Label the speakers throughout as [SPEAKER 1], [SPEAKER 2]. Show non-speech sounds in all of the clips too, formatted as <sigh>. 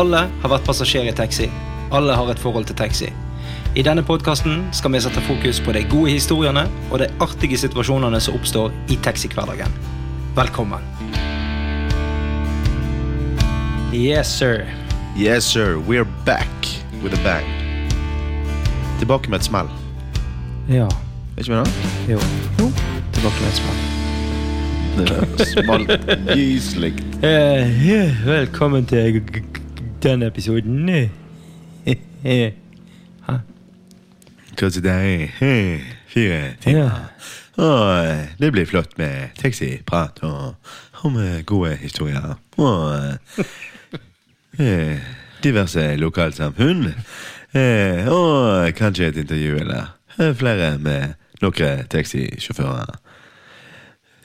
[SPEAKER 1] Alle har vært passasjer i taxi. Alle har et forhold til taxi. I denne podkasten skal vi sette fokus på de gode historiene og de artige situasjonene som oppstår i taxihverdagen. Velkommen. Yes, sir.
[SPEAKER 2] Yes, sir. We're back with a bang. Tilbake med et smell.
[SPEAKER 1] Ja.
[SPEAKER 2] Er ikke vi det?
[SPEAKER 1] Jo. Tilbake med et smell.
[SPEAKER 2] Det Smalt gyselig.
[SPEAKER 1] Eh, velkommen til denne episoden. <laughs>
[SPEAKER 2] Hva sier deg? Hey, eh? Fire timer. Åh, Det blir flott med taxiprat og om eh, gode historier. Og eh, diverse lokalsamfunn. Eh, Og kanskje et intervju eller eh, flere med noen taxisjåfører.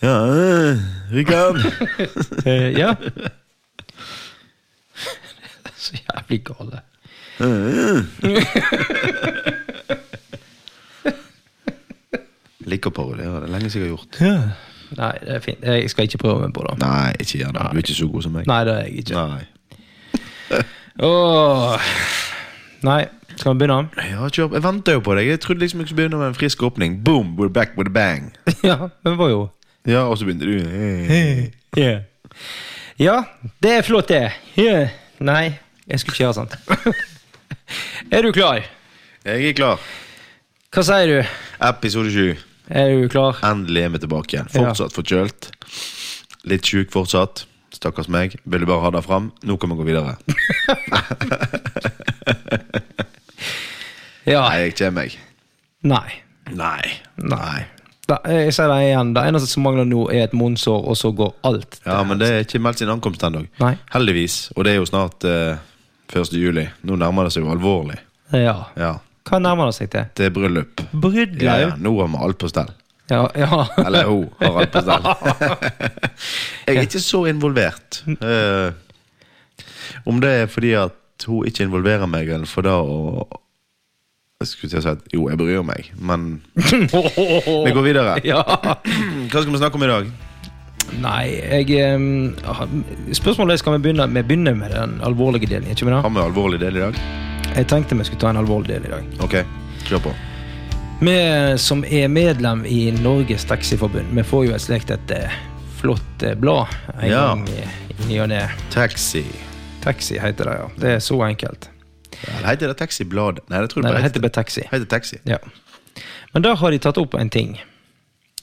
[SPEAKER 2] Ja, eh, Rikard.
[SPEAKER 1] Eh, ja. <laughs> Så jævlig gale.
[SPEAKER 2] Liker parodier. Det er lenge siden jeg har gjort.
[SPEAKER 1] Nei, det er fint. Jeg skal ikke prøve meg på det.
[SPEAKER 2] Nei, ikke gjør det. Du er ikke så god som meg.
[SPEAKER 1] Nei, det er jeg ikke.
[SPEAKER 2] Nei.
[SPEAKER 1] Åh. Nei, skal vi begynne?
[SPEAKER 2] Jeg, har ikke, jeg venter jo på deg. Jeg trodde liksom jeg skulle begynne med en frisk åpning. Boom, we're back with a bang.
[SPEAKER 1] <laughs> ja, men det var jo
[SPEAKER 2] Ja, og så begynte du.
[SPEAKER 1] Ja. Ja, det er flott, det. Ja. Nei, jeg skulle ikke gjøre sånt. <laughs> er du klar?
[SPEAKER 2] Jeg er klar.
[SPEAKER 1] Hva sier du?
[SPEAKER 2] Episode 7.
[SPEAKER 1] Er du klar?
[SPEAKER 2] Endelig er vi tilbake. Fortsatt forkjølt. Litt sjuk fortsatt. Stakkars meg. Ville bare ha det fram. Nå kan vi gå videre.
[SPEAKER 1] Ja.
[SPEAKER 2] Nei, jeg kommer meg.
[SPEAKER 1] Nei.
[SPEAKER 2] Nei.
[SPEAKER 1] Nei. Da, jeg sier det igjen. Det eneste som mangler nå, er et monnsår, og så går alt.
[SPEAKER 2] Ja, men det er ikke meldt sin ankomst ennå.
[SPEAKER 1] Nei.
[SPEAKER 2] Heldigvis. Og det er jo snart eh, 1. juli. Nå nærmer det seg jo alvorlig.
[SPEAKER 1] Ja.
[SPEAKER 2] Ja.
[SPEAKER 1] Hva nærmer det seg til?
[SPEAKER 2] Det er bryllup. Ja, ja.
[SPEAKER 1] Brudlaug?
[SPEAKER 2] Eh, Nå har vi alt på stell.
[SPEAKER 1] Ja, <laughs> ja.
[SPEAKER 2] Eller hun har alt på stell. <laughs> jeg er ikke så involvert. Eh, om det er fordi at hun ikke involverer meg, eller for da å Jeg skulle til å si at jo, jeg bryr meg, men vi går videre.
[SPEAKER 1] ja.
[SPEAKER 2] Hva skal vi snakke om i dag?
[SPEAKER 1] Nei, jeg ehm, har- Spørsmålet er skal vi begynne, vi begynner med den alvorlige delen. ikke sant?
[SPEAKER 2] Har vi alvorlig del i dag?
[SPEAKER 1] Jeg tenkte vi skulle ta en alvorlig del i dag.
[SPEAKER 2] Ok, kjør på.
[SPEAKER 1] Vi som er medlem i Norges Taxiforbund, vi får jo et slikt et eh, flott eh, blad en
[SPEAKER 2] Ja.
[SPEAKER 1] gang i- i ny og ne.
[SPEAKER 2] Taxi.
[SPEAKER 1] Taxi heter det, ja. Det er så enkelt.
[SPEAKER 2] Eller heter det Taxiblad? Nei, det tror jeg
[SPEAKER 1] Nei,
[SPEAKER 2] bare
[SPEAKER 1] det heter
[SPEAKER 2] heter,
[SPEAKER 1] bare Taxi.
[SPEAKER 2] heter Taxi.
[SPEAKER 1] Ja. Men der har de tatt opp en ting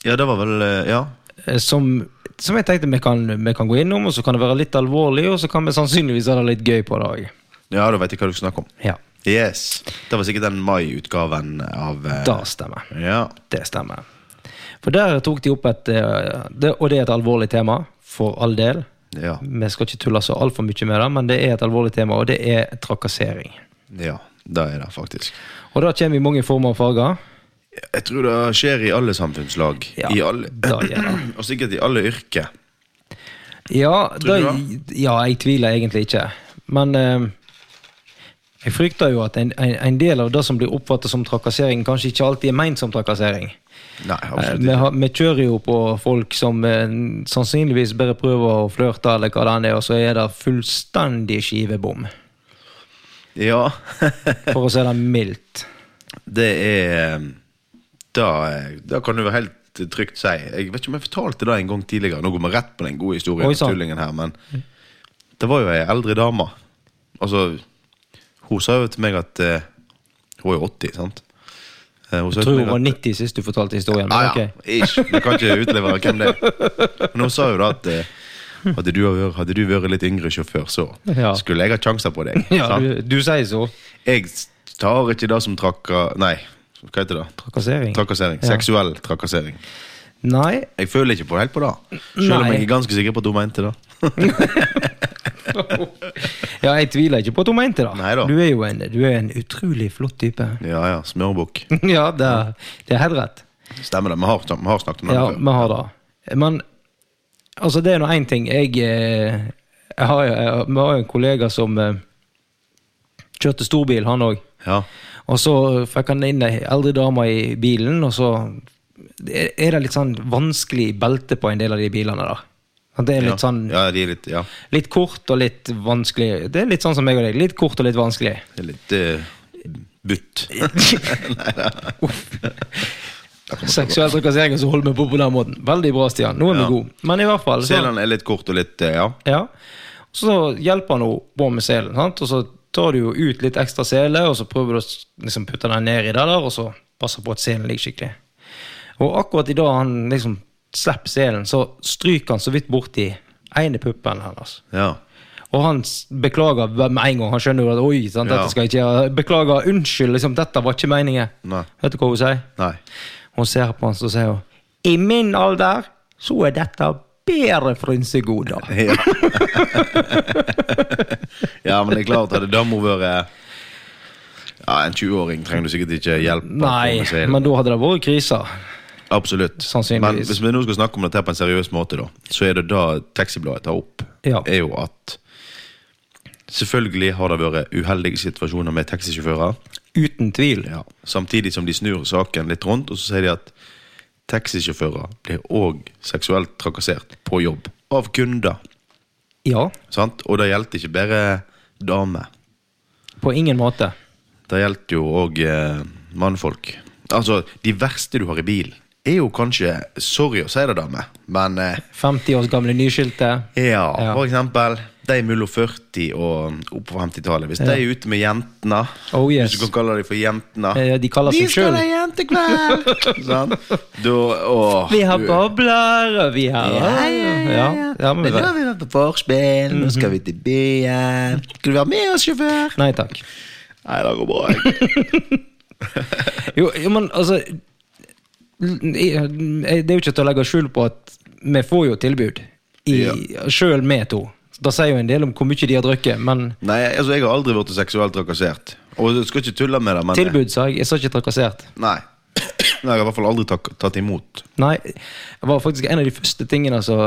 [SPEAKER 2] Ja, det var vel eh, Ja.
[SPEAKER 1] eh, som, som jeg tenkte vi kan, vi kan gå innom, og så kan det være litt alvorlig, og så kan vi sannsynligvis ha det litt gøy på det òg.
[SPEAKER 2] Ja, da vet jeg hva du snakker om.
[SPEAKER 1] Ja,
[SPEAKER 2] Yes. Det var sikkert den mai-utgaven av eh,
[SPEAKER 1] det stemmer.
[SPEAKER 2] Ja.
[SPEAKER 1] Det stemmer. For der tok de opp et eh, det, Og det er et alvorlig tema, for all del.
[SPEAKER 2] Ja.
[SPEAKER 1] Vi skal ikke tulle så altfor mye med det, men det er et alvorlig tema, og det er trakassering.
[SPEAKER 2] Ja, det er det faktisk.
[SPEAKER 1] Og det kommer i mange former og farger.
[SPEAKER 2] Jeg tror det skjer i alle samfunnslag.
[SPEAKER 1] Ja,
[SPEAKER 2] I alle,
[SPEAKER 1] da gjør det.
[SPEAKER 2] <clears throat> og sikkert i alle yrker.
[SPEAKER 1] Ja,
[SPEAKER 2] Tror du
[SPEAKER 1] det, ja, jeg tviler egentlig ikke. Men eh, jeg frykter jo at en, en, en del av det som blir oppfattet som trakassering, kanskje ikke alltid er ment som trakassering.
[SPEAKER 2] Nei,
[SPEAKER 1] Eh,
[SPEAKER 2] absolutt
[SPEAKER 1] Vi,
[SPEAKER 2] ikke.
[SPEAKER 1] har, vi kjører jo på folk som eh, sannsynligvis bare prøver å flørte, eller hva det enn er, og så er det fullstendig skivebom.
[SPEAKER 2] Ja,
[SPEAKER 1] For å si det
[SPEAKER 2] <laughs>
[SPEAKER 1] mildt.
[SPEAKER 2] det er eh, Da, er- da kan du jo helt trygt si Jeg vet ikke om jeg fortalte det en gang tidligere. Nå går vi rett på den gode historien.
[SPEAKER 1] Oi, sånn. sann.
[SPEAKER 2] tullingen her, men det var jo ei eldre dame. Altså, hun sa jo til meg at eh, Hun er 80, sant? Eh, Hun sa
[SPEAKER 1] Jeg
[SPEAKER 2] til
[SPEAKER 1] tror
[SPEAKER 2] meg
[SPEAKER 1] hun
[SPEAKER 2] at-
[SPEAKER 1] var 90 sist du fortalte historien.
[SPEAKER 2] Ja,
[SPEAKER 1] Men,
[SPEAKER 2] Ah, ja. <laughs>
[SPEAKER 1] ok.
[SPEAKER 2] Ish. Du kan ikke utlevere hvem det er. Men hun sa jo da at eh, hadde du, vært- hadde du vært litt yngre sjåfør, så
[SPEAKER 1] Ja.
[SPEAKER 2] skulle jeg ha sjanser på deg.
[SPEAKER 1] <laughs> ja
[SPEAKER 2] sant?
[SPEAKER 1] du, du sier så.
[SPEAKER 2] Jeg tar ikke det som trakka... Nei, hva heter det?
[SPEAKER 1] Trakassering.
[SPEAKER 2] Trakassering.
[SPEAKER 1] Ja.
[SPEAKER 2] Seksuell trakassering. <laughs>
[SPEAKER 1] Nei.
[SPEAKER 2] Jeg føler ikke på helt på det. Selv om
[SPEAKER 1] Nei.
[SPEAKER 2] jeg er ganske sikker på at hun mente det.
[SPEAKER 1] Ja, jeg tviler ikke på at hun mente det.
[SPEAKER 2] Neida.
[SPEAKER 1] Du er jo en, du er en utrolig flott type. <laughs>
[SPEAKER 2] Ja ja, smørbukk.
[SPEAKER 1] ja, det er, det er helt rett.
[SPEAKER 2] Stemmer det. Vi har, vi har snakket om det
[SPEAKER 1] Ja,
[SPEAKER 2] før.
[SPEAKER 1] vi har det. Men altså, det er nå én ting. Jeg, eh, jeg har jo jeg- Vi har jo en kollega som eh, kjørte storbil, han òg.
[SPEAKER 2] Ja.
[SPEAKER 1] Og så fikk han inn ei eldre dame i bilen, og så er det litt sånn vanskelig belte på en del av de bilene der. At det er litt
[SPEAKER 2] ja.
[SPEAKER 1] sånn
[SPEAKER 2] Ja, de er litt Ja.
[SPEAKER 1] Litt kort og litt vanskelig. Det er litt sånn som meg og deg. Litt kort og litt vanskelig.
[SPEAKER 2] Det er litt eh, butt. <laughs>
[SPEAKER 1] Seksuell trakassering og så holder vi på på den måten. Veldig bra, Stian. Nå er
[SPEAKER 2] Ja.
[SPEAKER 1] vi gode. Men i hvert fall så,
[SPEAKER 2] Selen er litt kort og litt eh, Ja.
[SPEAKER 1] ja. så hjelper han henne på med selen. Sant? Og så tar du jo ut litt ekstra sele, og så prøver du å s- liksom putte den ned i det der, og så passer på at selen ligger skikkelig. Og akkurat i dag han liksom slipper selen, så stryker han så vidt borti ene puppen hennes.
[SPEAKER 2] ja.
[SPEAKER 1] Og han s- beklager med en gang. Han skjønner jo at oi, sant,
[SPEAKER 2] Ja.
[SPEAKER 1] dette skal jeg ikke gjøre. Beklager, unnskyld, liksom, dette var ikke meningen.
[SPEAKER 2] Nei.
[SPEAKER 1] Vet du hva hun sier?
[SPEAKER 2] Nei.
[SPEAKER 1] Hun ser på han så sier hun I min alder så er dette bedre frynsegoder.
[SPEAKER 2] <laughs> Ja. ja, men det er klart at det da må være ja, En 20-åring trenger du sikkert ikke hjelp. på å
[SPEAKER 1] Nei,
[SPEAKER 2] komme seg inn.
[SPEAKER 1] men da hadde det vært kriser.
[SPEAKER 2] Absolutt. Men
[SPEAKER 1] Sannsynligvis.
[SPEAKER 2] hvis vi nå skal snakke om dette her på en seriøs måte, da, så er det da Taxibladet tar opp,
[SPEAKER 1] Ja.
[SPEAKER 2] er jo at selvfølgelig har det vært uheldige situasjoner med taxisjåfører.
[SPEAKER 1] Uten tvil.
[SPEAKER 2] Samtidig som de snur saken litt rundt, og så sier de at taxisjåfører blir òg seksuelt trakassert på jobb av kunder.
[SPEAKER 1] Ja,
[SPEAKER 2] Sant? Og det gjelder ikke bare damer.
[SPEAKER 1] på ingen måte.
[SPEAKER 2] Det gjelder jo òg eh, mannfolk. Altså, de verste du har i bilen, er jo kanskje Sorry å si det, dame, men eh,
[SPEAKER 1] 50 års gamle nyskilte.
[SPEAKER 2] Ja,
[SPEAKER 1] Ja.
[SPEAKER 2] for eksempel de mellom 40 og opp på 50-tallet. Hvis de er ute med jentene,
[SPEAKER 1] Oh, yes.
[SPEAKER 2] hvis du kan kalle dem for jentene
[SPEAKER 1] Eh, De kaller
[SPEAKER 2] Vi
[SPEAKER 1] seg
[SPEAKER 2] skal
[SPEAKER 1] sjøl
[SPEAKER 2] ha jentekveld! <laughs> sånn. Da, åh,
[SPEAKER 1] Vi har
[SPEAKER 2] du-
[SPEAKER 1] bobler, og vi har
[SPEAKER 2] Ja, ja, ja.
[SPEAKER 1] ja. ja men,
[SPEAKER 2] Men da har vi vært på forspill, nå skal vi til byen. Skal du være med oss, sjåfør?
[SPEAKER 1] Nei takk.
[SPEAKER 2] Nei, det går bra. jeg.
[SPEAKER 1] Jo, jo, men altså jeg- Det er jo ikke til å legge skjul på at vi får jo tilbud, i, sjøl med to. Da sier jo en del om hvor mye de har drukket, men
[SPEAKER 2] Nei, altså, jeg har aldri blitt seksuelt trakassert. Og jeg skal ikke tulle med det, men
[SPEAKER 1] tilbud, sa jeg. Jeg sa ikke trakassert.
[SPEAKER 2] Nei. Nei, jeg har i hvert fall aldri tak tatt imot.
[SPEAKER 1] Nei, det var faktisk en av de første tingene som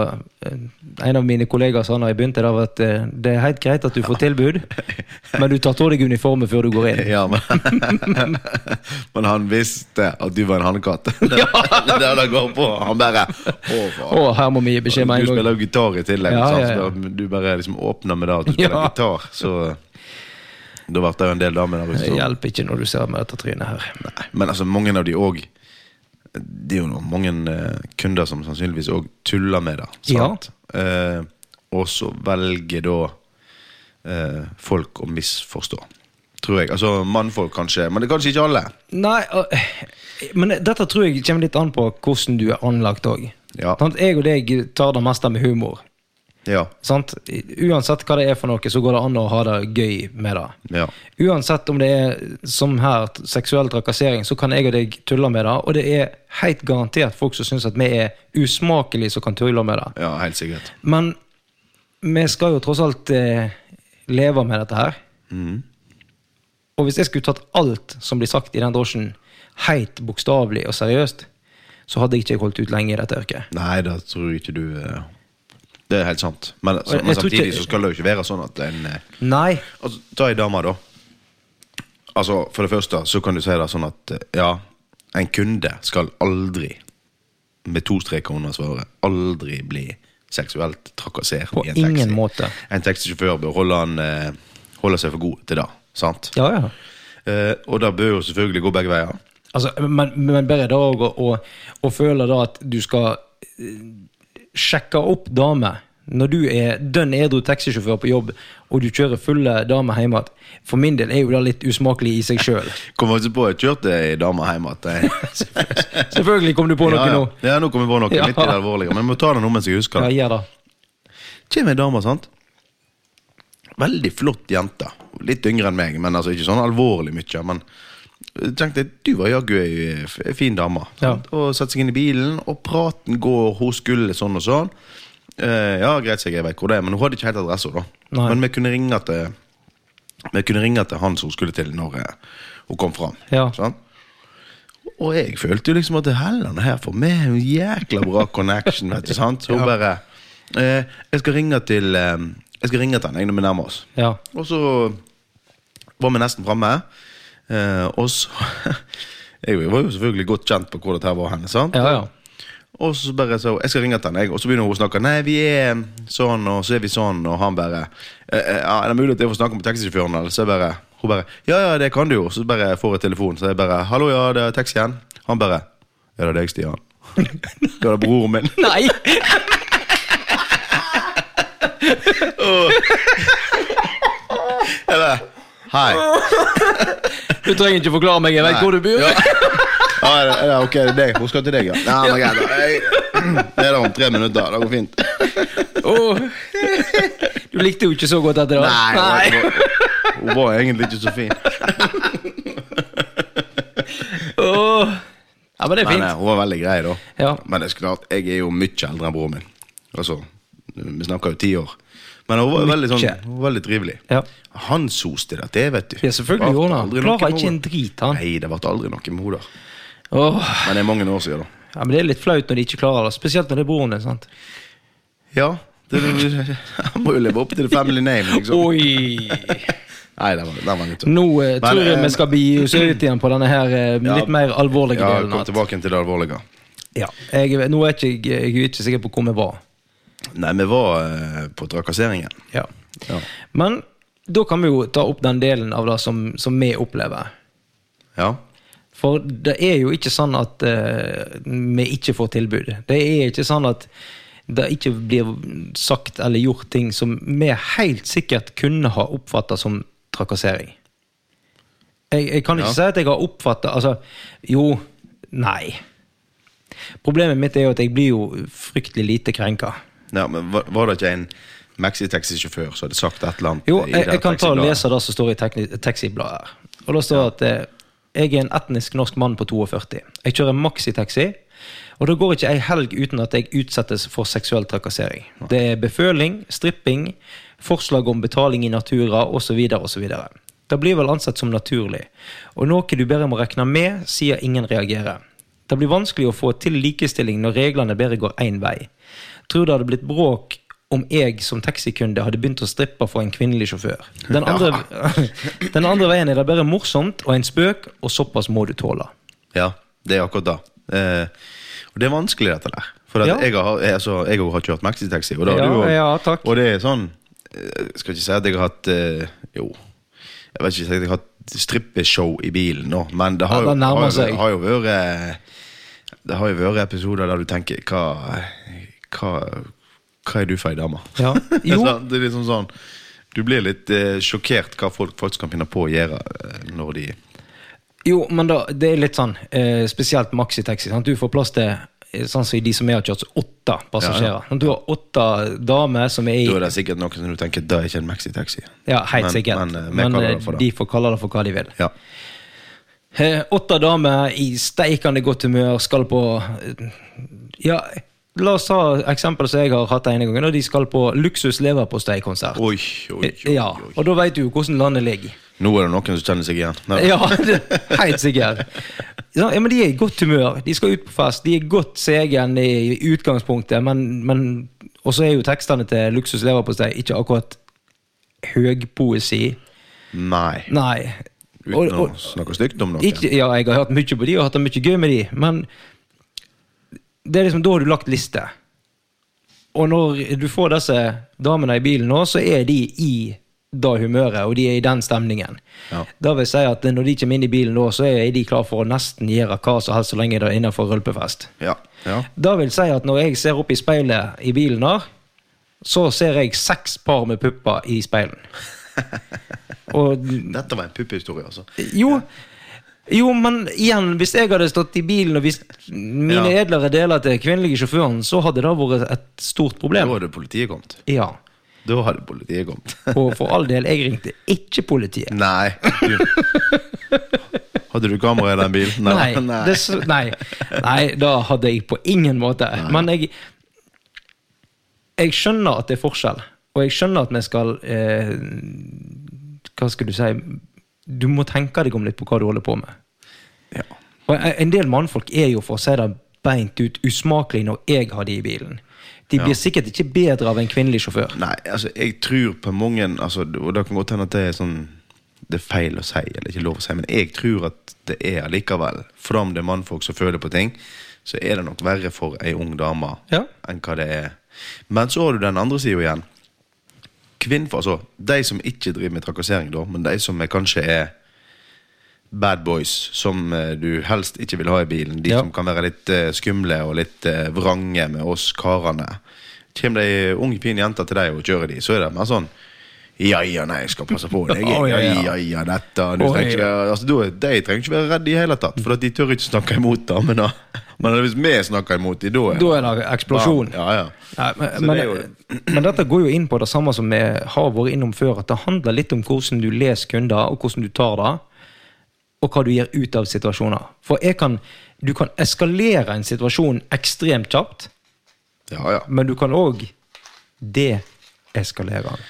[SPEAKER 1] eh, en av mine kollegaer sa når jeg begynte, det var at eh, det er helt greit at du får
[SPEAKER 2] <laughs>
[SPEAKER 1] tilbud, men du tar av deg uniformen før du går inn.
[SPEAKER 2] Ja, men, <laughs> men han visste at du var en hannekatt.
[SPEAKER 1] Ja.
[SPEAKER 2] <laughs> det er det det går på. Han bare Å, faen.
[SPEAKER 1] Å, her må vi gi beskjed med
[SPEAKER 2] Du
[SPEAKER 1] en gang.
[SPEAKER 2] spiller jo gitar i tillegg.
[SPEAKER 1] Ja,
[SPEAKER 2] sant?
[SPEAKER 1] ja, ja.
[SPEAKER 2] Så da- Du bare liksom åpner med det at du spiller
[SPEAKER 1] Ja.
[SPEAKER 2] gitar, så Da ble det jo en del damer der
[SPEAKER 1] Det
[SPEAKER 2] ute. som-
[SPEAKER 1] hjelper ikke når du ser med dette trynet her.
[SPEAKER 2] Nei, Men altså, mange av de òg Det er jo noen, mange eh, kunder som sannsynligvis òg tuller med det. Sant? Eh, og så velger da eh, folk å misforstå. Tror jeg. Altså mannfolk kanskje, men det er kanskje ikke alle.
[SPEAKER 1] Nei, og- eh, men dette tror jeg kommer litt an på hvordan du er anlagt òg.
[SPEAKER 2] Ja.
[SPEAKER 1] Jeg og deg tar det meste med humor.
[SPEAKER 2] Ja.
[SPEAKER 1] Sant? Uansett hva det er for noe, så går det an å ha det gøy med det.
[SPEAKER 2] Ja.
[SPEAKER 1] Uansett om det er som her seksuell trakassering, så kan jeg og deg tulle med det. Og det er helt garantert folk som syns at vi er usmakelige som kan tulle med det.
[SPEAKER 2] ja, helt sikkert.
[SPEAKER 1] Men vi skal jo tross alt eh, leve med dette her. Og hvis jeg skulle tatt alt som blir sagt i den drosjen, helt bokstavelig og seriøst, så hadde jeg ikke holdt ut lenge i dette yrket.
[SPEAKER 2] Nei, det tror jeg ikke du eh, Det er helt sant. Men, så,
[SPEAKER 1] Jeg-
[SPEAKER 2] men
[SPEAKER 1] jeg tror
[SPEAKER 2] samtidig
[SPEAKER 1] ikke-
[SPEAKER 2] så skal det jo ikke være sånn at en eh,
[SPEAKER 1] Nei.
[SPEAKER 2] altså, Ta ei dame, da. Altså, For det første så kan du si det sånn at eh, ja, en kunde skal aldri, med to streker under svaret, aldri bli seksuelt trakassert
[SPEAKER 1] På
[SPEAKER 2] i en taxi.
[SPEAKER 1] ingen måte.
[SPEAKER 2] En taxisjåfør bør holde, han, eh, holde seg for god til det. Sant?
[SPEAKER 1] Ja, ja.
[SPEAKER 2] Eh, og det bør jo selvfølgelig gå begge veier.
[SPEAKER 1] Altså, men, men bare da å, å, å føle da at du skal eh, sjekke opp damer når du er dønn edru taxisjåfør på jobb, og du kjører fulle damer hjem igjen. For min del er jo det litt usmakelig i seg sjøl.
[SPEAKER 2] <laughs> Kom faktisk på jeg kjørte ei dame hjem igjen.
[SPEAKER 1] Selvfølgelig kom du <laughs> på noe
[SPEAKER 2] ja, ja.
[SPEAKER 1] nå.
[SPEAKER 2] Ja, nå kommer vi på noe
[SPEAKER 1] <laughs> Ja.
[SPEAKER 2] litt i det alvorlige. Men vi må ta det nå mens jeg husker
[SPEAKER 1] Ja,
[SPEAKER 2] det.
[SPEAKER 1] gjør det.
[SPEAKER 2] Kjem ei dame, sant? Veldig flott jente. Litt yngre enn meg, men altså ikke sånn alvorlig mye. Men jeg tenkte du var jaggu ei f- ei fin dame. sant? Og setter seg inn i bilen, og praten går, hun skulle sånn og sånn. Eh, ja, greit, så jeg vet hvor det er, men hun hadde ikke helt adresse. da
[SPEAKER 1] Nei.
[SPEAKER 2] Men vi kunne ringe til Vi kunne ringe til han som hun skulle til, når eh, hun kom fram.
[SPEAKER 1] Ja.
[SPEAKER 2] Sant? Sånn. Og jeg følte jo liksom at Helland her får med en jækla bra connection. vet du, sant? Så hun bare eh, Jeg skal ringe til eh, Jeg skal ringe til han jeg, når vi nærmer oss.
[SPEAKER 1] Ja.
[SPEAKER 2] Og så var vi nesten framme. <laughs> Eh, og så Jeg var jo selvfølgelig godt kjent på hvor dette her var hen. sant?
[SPEAKER 1] Ja, ja.
[SPEAKER 2] Og så bare så, jeg skal ringe til han, jeg. Og så begynner hun å snakke. Nei, vi er sånn, og så er vi sånn, og han bare «Eh, eh, ja, Er det mulig at jeg får snakke med taxisjåføren? Eller så jeg bare Hun bare Ja, ja, det kan du jo. Så bare får jeg telefon, så jeg bare Hallo, ja, det er taxien. Han bare Ja, det er deg, Stian. Ja, det er broren min.
[SPEAKER 1] Nei!
[SPEAKER 2] Jeg bare Hei.
[SPEAKER 1] Du trenger ikke forklare meg, jeg vet hvor du bor.
[SPEAKER 2] Ja. Ja, er det- er det ok, det er deg. Hun skal til deg, ja. Nei, men greit, da. Jeg- Det er da om tre minutter. Det går fint.
[SPEAKER 1] Åh. Du likte jo ikke så godt etter det.
[SPEAKER 2] Nei, Hun, var, hun var egentlig ikke så fin.
[SPEAKER 1] Åh. Ja, men det er
[SPEAKER 2] Men eh,
[SPEAKER 1] fint.
[SPEAKER 2] hun var veldig grei, da.
[SPEAKER 1] Ja.
[SPEAKER 2] Men det er så klart, jeg er jo mye eldre enn broren min. Altså, Vi snakker jo ti år. Men hun var veldig, sånn,
[SPEAKER 1] Mykje.
[SPEAKER 2] hun var veldig trivelig.
[SPEAKER 1] Ja.
[SPEAKER 2] Han soste det til, vet du.
[SPEAKER 1] Ja, selvfølgelig gjorde han det. Klarer ikke en
[SPEAKER 2] drit.
[SPEAKER 1] drit, han.
[SPEAKER 2] Nei, det ble aldri noe med henne. da.
[SPEAKER 1] Åh.
[SPEAKER 2] Men det er mange år siden, da.
[SPEAKER 1] Ja, men Det er litt flaut når de ikke klarer det. Spesielt når det er broren din. sant?
[SPEAKER 2] Ja, det, <laughs> Han må jo leve opp til the family name, liksom.
[SPEAKER 1] Oi!
[SPEAKER 2] Nei, den var, den var litt
[SPEAKER 1] Nå eh, tror jeg
[SPEAKER 2] eh,
[SPEAKER 1] vi skal bli søkt igjen på denne her eh, litt mer alvorlige
[SPEAKER 2] ja,
[SPEAKER 1] delen.
[SPEAKER 2] Kom
[SPEAKER 1] at-
[SPEAKER 2] tilbake til det alvorlige.
[SPEAKER 1] Ja, jeg, Nå er ikke, jeg- jeg er ikke sikker på hvor vi var.
[SPEAKER 2] Nei, vi var eh, på trakasseringen.
[SPEAKER 1] Ja.
[SPEAKER 2] Ja.
[SPEAKER 1] Men da kan vi jo ta opp den delen av det som, som vi opplever.
[SPEAKER 2] ja.
[SPEAKER 1] For det er jo ikke sånn at eh, vi ikke får tilbud. Det er ikke sånn at det ikke blir sagt eller gjort ting som vi helt sikkert kunne ha oppfatta som trakassering. Jeg, jeg kan ikke
[SPEAKER 2] Ja.
[SPEAKER 1] si at jeg har oppfatta Altså, jo Nei. Problemet mitt er jo at jeg blir jo fryktelig lite krenka.
[SPEAKER 2] Ja, men var, var det ikke en maxitaxisjåfør som hadde sagt et eller annet?
[SPEAKER 1] Jo,
[SPEAKER 2] i
[SPEAKER 1] jeg,
[SPEAKER 2] det
[SPEAKER 1] jeg kan ta og
[SPEAKER 2] taxibladet?
[SPEAKER 1] lese det som står i tekni- taxibladet. her. Og Da står det at eh, jeg er en etnisk norsk mann på 42. Jeg kjører maxitaxi, og det går ikke ei helg uten at jeg utsettes for seksuell trakassering. Det er beføling, stripping, forslag om betaling i natura osv. osv. Det blir vel ansett som naturlig, og noe du bare må regne med, sier ingen reagerer. Det blir vanskelig å få til likestilling når reglene bare går én vei. Tror det hadde blitt bråk om jeg som taxikunde hadde begynt å strippe for en kvinnelig sjåfør. Den andre, den andre veien er det bare morsomt og en spøk, og såpass må du tåle.
[SPEAKER 2] Ja, det er akkurat det. Eh, og det er vanskelig, dette der. For at
[SPEAKER 1] Ja.
[SPEAKER 2] jeg har, jeg, altså, jeg har kjørt maxitaxi, og det har
[SPEAKER 1] Ja,
[SPEAKER 2] du òg.
[SPEAKER 1] ja, takk.
[SPEAKER 2] og det er sånn eh, Jeg skal ikke si at jeg har hatt eh, Jo, jeg vet ikke si at jeg har hatt strippeshow i bilen nå, men det har,
[SPEAKER 1] Ja, det
[SPEAKER 2] jo,
[SPEAKER 1] nærmer
[SPEAKER 2] har,
[SPEAKER 1] seg.
[SPEAKER 2] jo, har jo vært eh, Det har jo vært episoder der du tenker Hva, hva, hva er du for ei dame?
[SPEAKER 1] Ja,
[SPEAKER 2] <laughs>
[SPEAKER 1] jo.
[SPEAKER 2] Sant? det er liksom sånn Du blir litt eh, sjokkert hva folk faktisk kan finne på å gjøre eh, når de
[SPEAKER 1] Jo, men da, det er litt sånn, eh, spesielt maxitaxi. Sant? Du får plass til eh, sånn som i de som jeg har kjørt, så åtte passasjerer. Sant? Du har åtte damer som er i
[SPEAKER 2] Da er det sikkert noen som du tenker det er ikke en maxitaxi.
[SPEAKER 1] Ja, helt
[SPEAKER 2] men-
[SPEAKER 1] sikkert.
[SPEAKER 2] men, eh, vi
[SPEAKER 1] Men,
[SPEAKER 2] kaller
[SPEAKER 1] eh,
[SPEAKER 2] det for det.
[SPEAKER 1] de får kalle det for hva de vil.
[SPEAKER 2] Ja.
[SPEAKER 1] Eh, Åtte damer i steikende godt humør skal på eh, Ja, la oss ta eksempelet som jeg har hatt den ene gangen. Og de skal på luksus leverpostei-konsert.
[SPEAKER 2] Oi, oi, oi,
[SPEAKER 1] Ja,
[SPEAKER 2] oi.
[SPEAKER 1] og da veit du jo hvordan landet ligger.
[SPEAKER 2] Nå er det noen som kjenner seg igjen. Nei,
[SPEAKER 1] Ja, det- helt sikkert. Ja, men De er i godt humør, de skal ut på fest, de er godt segen i utgangspunktet, men, men Og så er jo tekstene til Luksus leverpostei ikke akkurat høgpoesi.
[SPEAKER 2] Nei.
[SPEAKER 1] Nei.
[SPEAKER 2] Uten
[SPEAKER 1] Og- og-
[SPEAKER 2] å snakke stygt om noen.
[SPEAKER 1] ikke, ja, jeg har hørt mye på de og hatt det mye gøy med de, men det er liksom da har du lagt liste. Og når du får disse damene i bilen nå, så er de i det humøret, og de er i den stemningen.
[SPEAKER 2] Ja.
[SPEAKER 1] Da vil jeg si at når de kommer inn i bilen nå, så er de klar for å nesten gjøre hva som helst så lenge det er innenfor rølpefest.
[SPEAKER 2] Ja. ja.
[SPEAKER 1] Da vil jeg si at når jeg ser opp i speilet i bilen der, så ser jeg seks par med pupper i speilen. Og
[SPEAKER 2] Dette var en puppehistorie, altså.
[SPEAKER 1] jo, jo, men igjen, hvis jeg hadde stått i bilen og hvis mine
[SPEAKER 2] Ja.
[SPEAKER 1] edlere deler til kvinnelige sjåføren, så hadde det vært et stort
[SPEAKER 2] Da
[SPEAKER 1] problem.
[SPEAKER 2] hadde politiet kommet.
[SPEAKER 1] Ja.
[SPEAKER 2] Da hadde politiet kommet. <laughs>
[SPEAKER 1] Og for all del, jeg ringte ikke politiet. <laughs>
[SPEAKER 2] Nei. Du. Hadde du kamera i den
[SPEAKER 1] <laughs>
[SPEAKER 2] bilen?
[SPEAKER 1] Nei, dess- nei, nei, da hadde jeg på ingen måte. Men jeg, jeg skjønner at det er forskjell, og jeg skjønner at vi skal eh, Hva skal du si Du må tenke deg om litt på hva du holder på med.
[SPEAKER 2] Ja.
[SPEAKER 1] Og en- En del mannfolk er jo, for å si det beint ut, usmakelig når jeg har de i bilen. De blir sikkert ikke bedre av en kvinnelig sjåfør.
[SPEAKER 2] Nei, altså, jeg tror på mange altså, Og det kan godt hende at det er sånn det er feil å si, eller ikke lov å si, men jeg tror at det er allikevel, for om det er mannfolk som føler på ting, så er det nok verre for ei ung dame
[SPEAKER 1] Ja.
[SPEAKER 2] enn hva det er. Men så har du den andre sida igjen. Kvinn, altså, de som ikke driver med trakassering, da, men de som er, kanskje er bad boys, som eh, du helst ikke vil ha i bilen, de
[SPEAKER 1] Ja.
[SPEAKER 2] som kan være litt eh, skumle og litt eh, vrange med oss karene. Kommer det ei ung, fin jente til deg og kjører de, så er det mer sånn ja, ja, nei, jeg skal passe på deg. Ja,
[SPEAKER 1] Å, <laughs> ja,
[SPEAKER 2] ja,
[SPEAKER 1] ja.
[SPEAKER 2] ja, ja, dette du
[SPEAKER 1] Å,
[SPEAKER 2] trenger ikke
[SPEAKER 1] ja.
[SPEAKER 2] være, altså, du, De trenger ikke være redde i hele tatt, for at de tør ikke snakke imot det. Men, da- men hvis vi snakker imot dem, da er
[SPEAKER 1] Da er det eksplosjon.
[SPEAKER 2] Ja, ja.
[SPEAKER 1] Nei,
[SPEAKER 2] Så
[SPEAKER 1] men,
[SPEAKER 2] det
[SPEAKER 1] men,
[SPEAKER 2] er jo-
[SPEAKER 1] men dette går jo inn på det samme som vi har vært innom før, at det handler litt om hvordan du leser kunder, og hvordan du tar det, og hva du gir ut av situasjoner. For jeg kan, du kan eskalere en situasjon ekstremt kjapt,
[SPEAKER 2] ja, ja.
[SPEAKER 1] men du kan òg deeskalere den.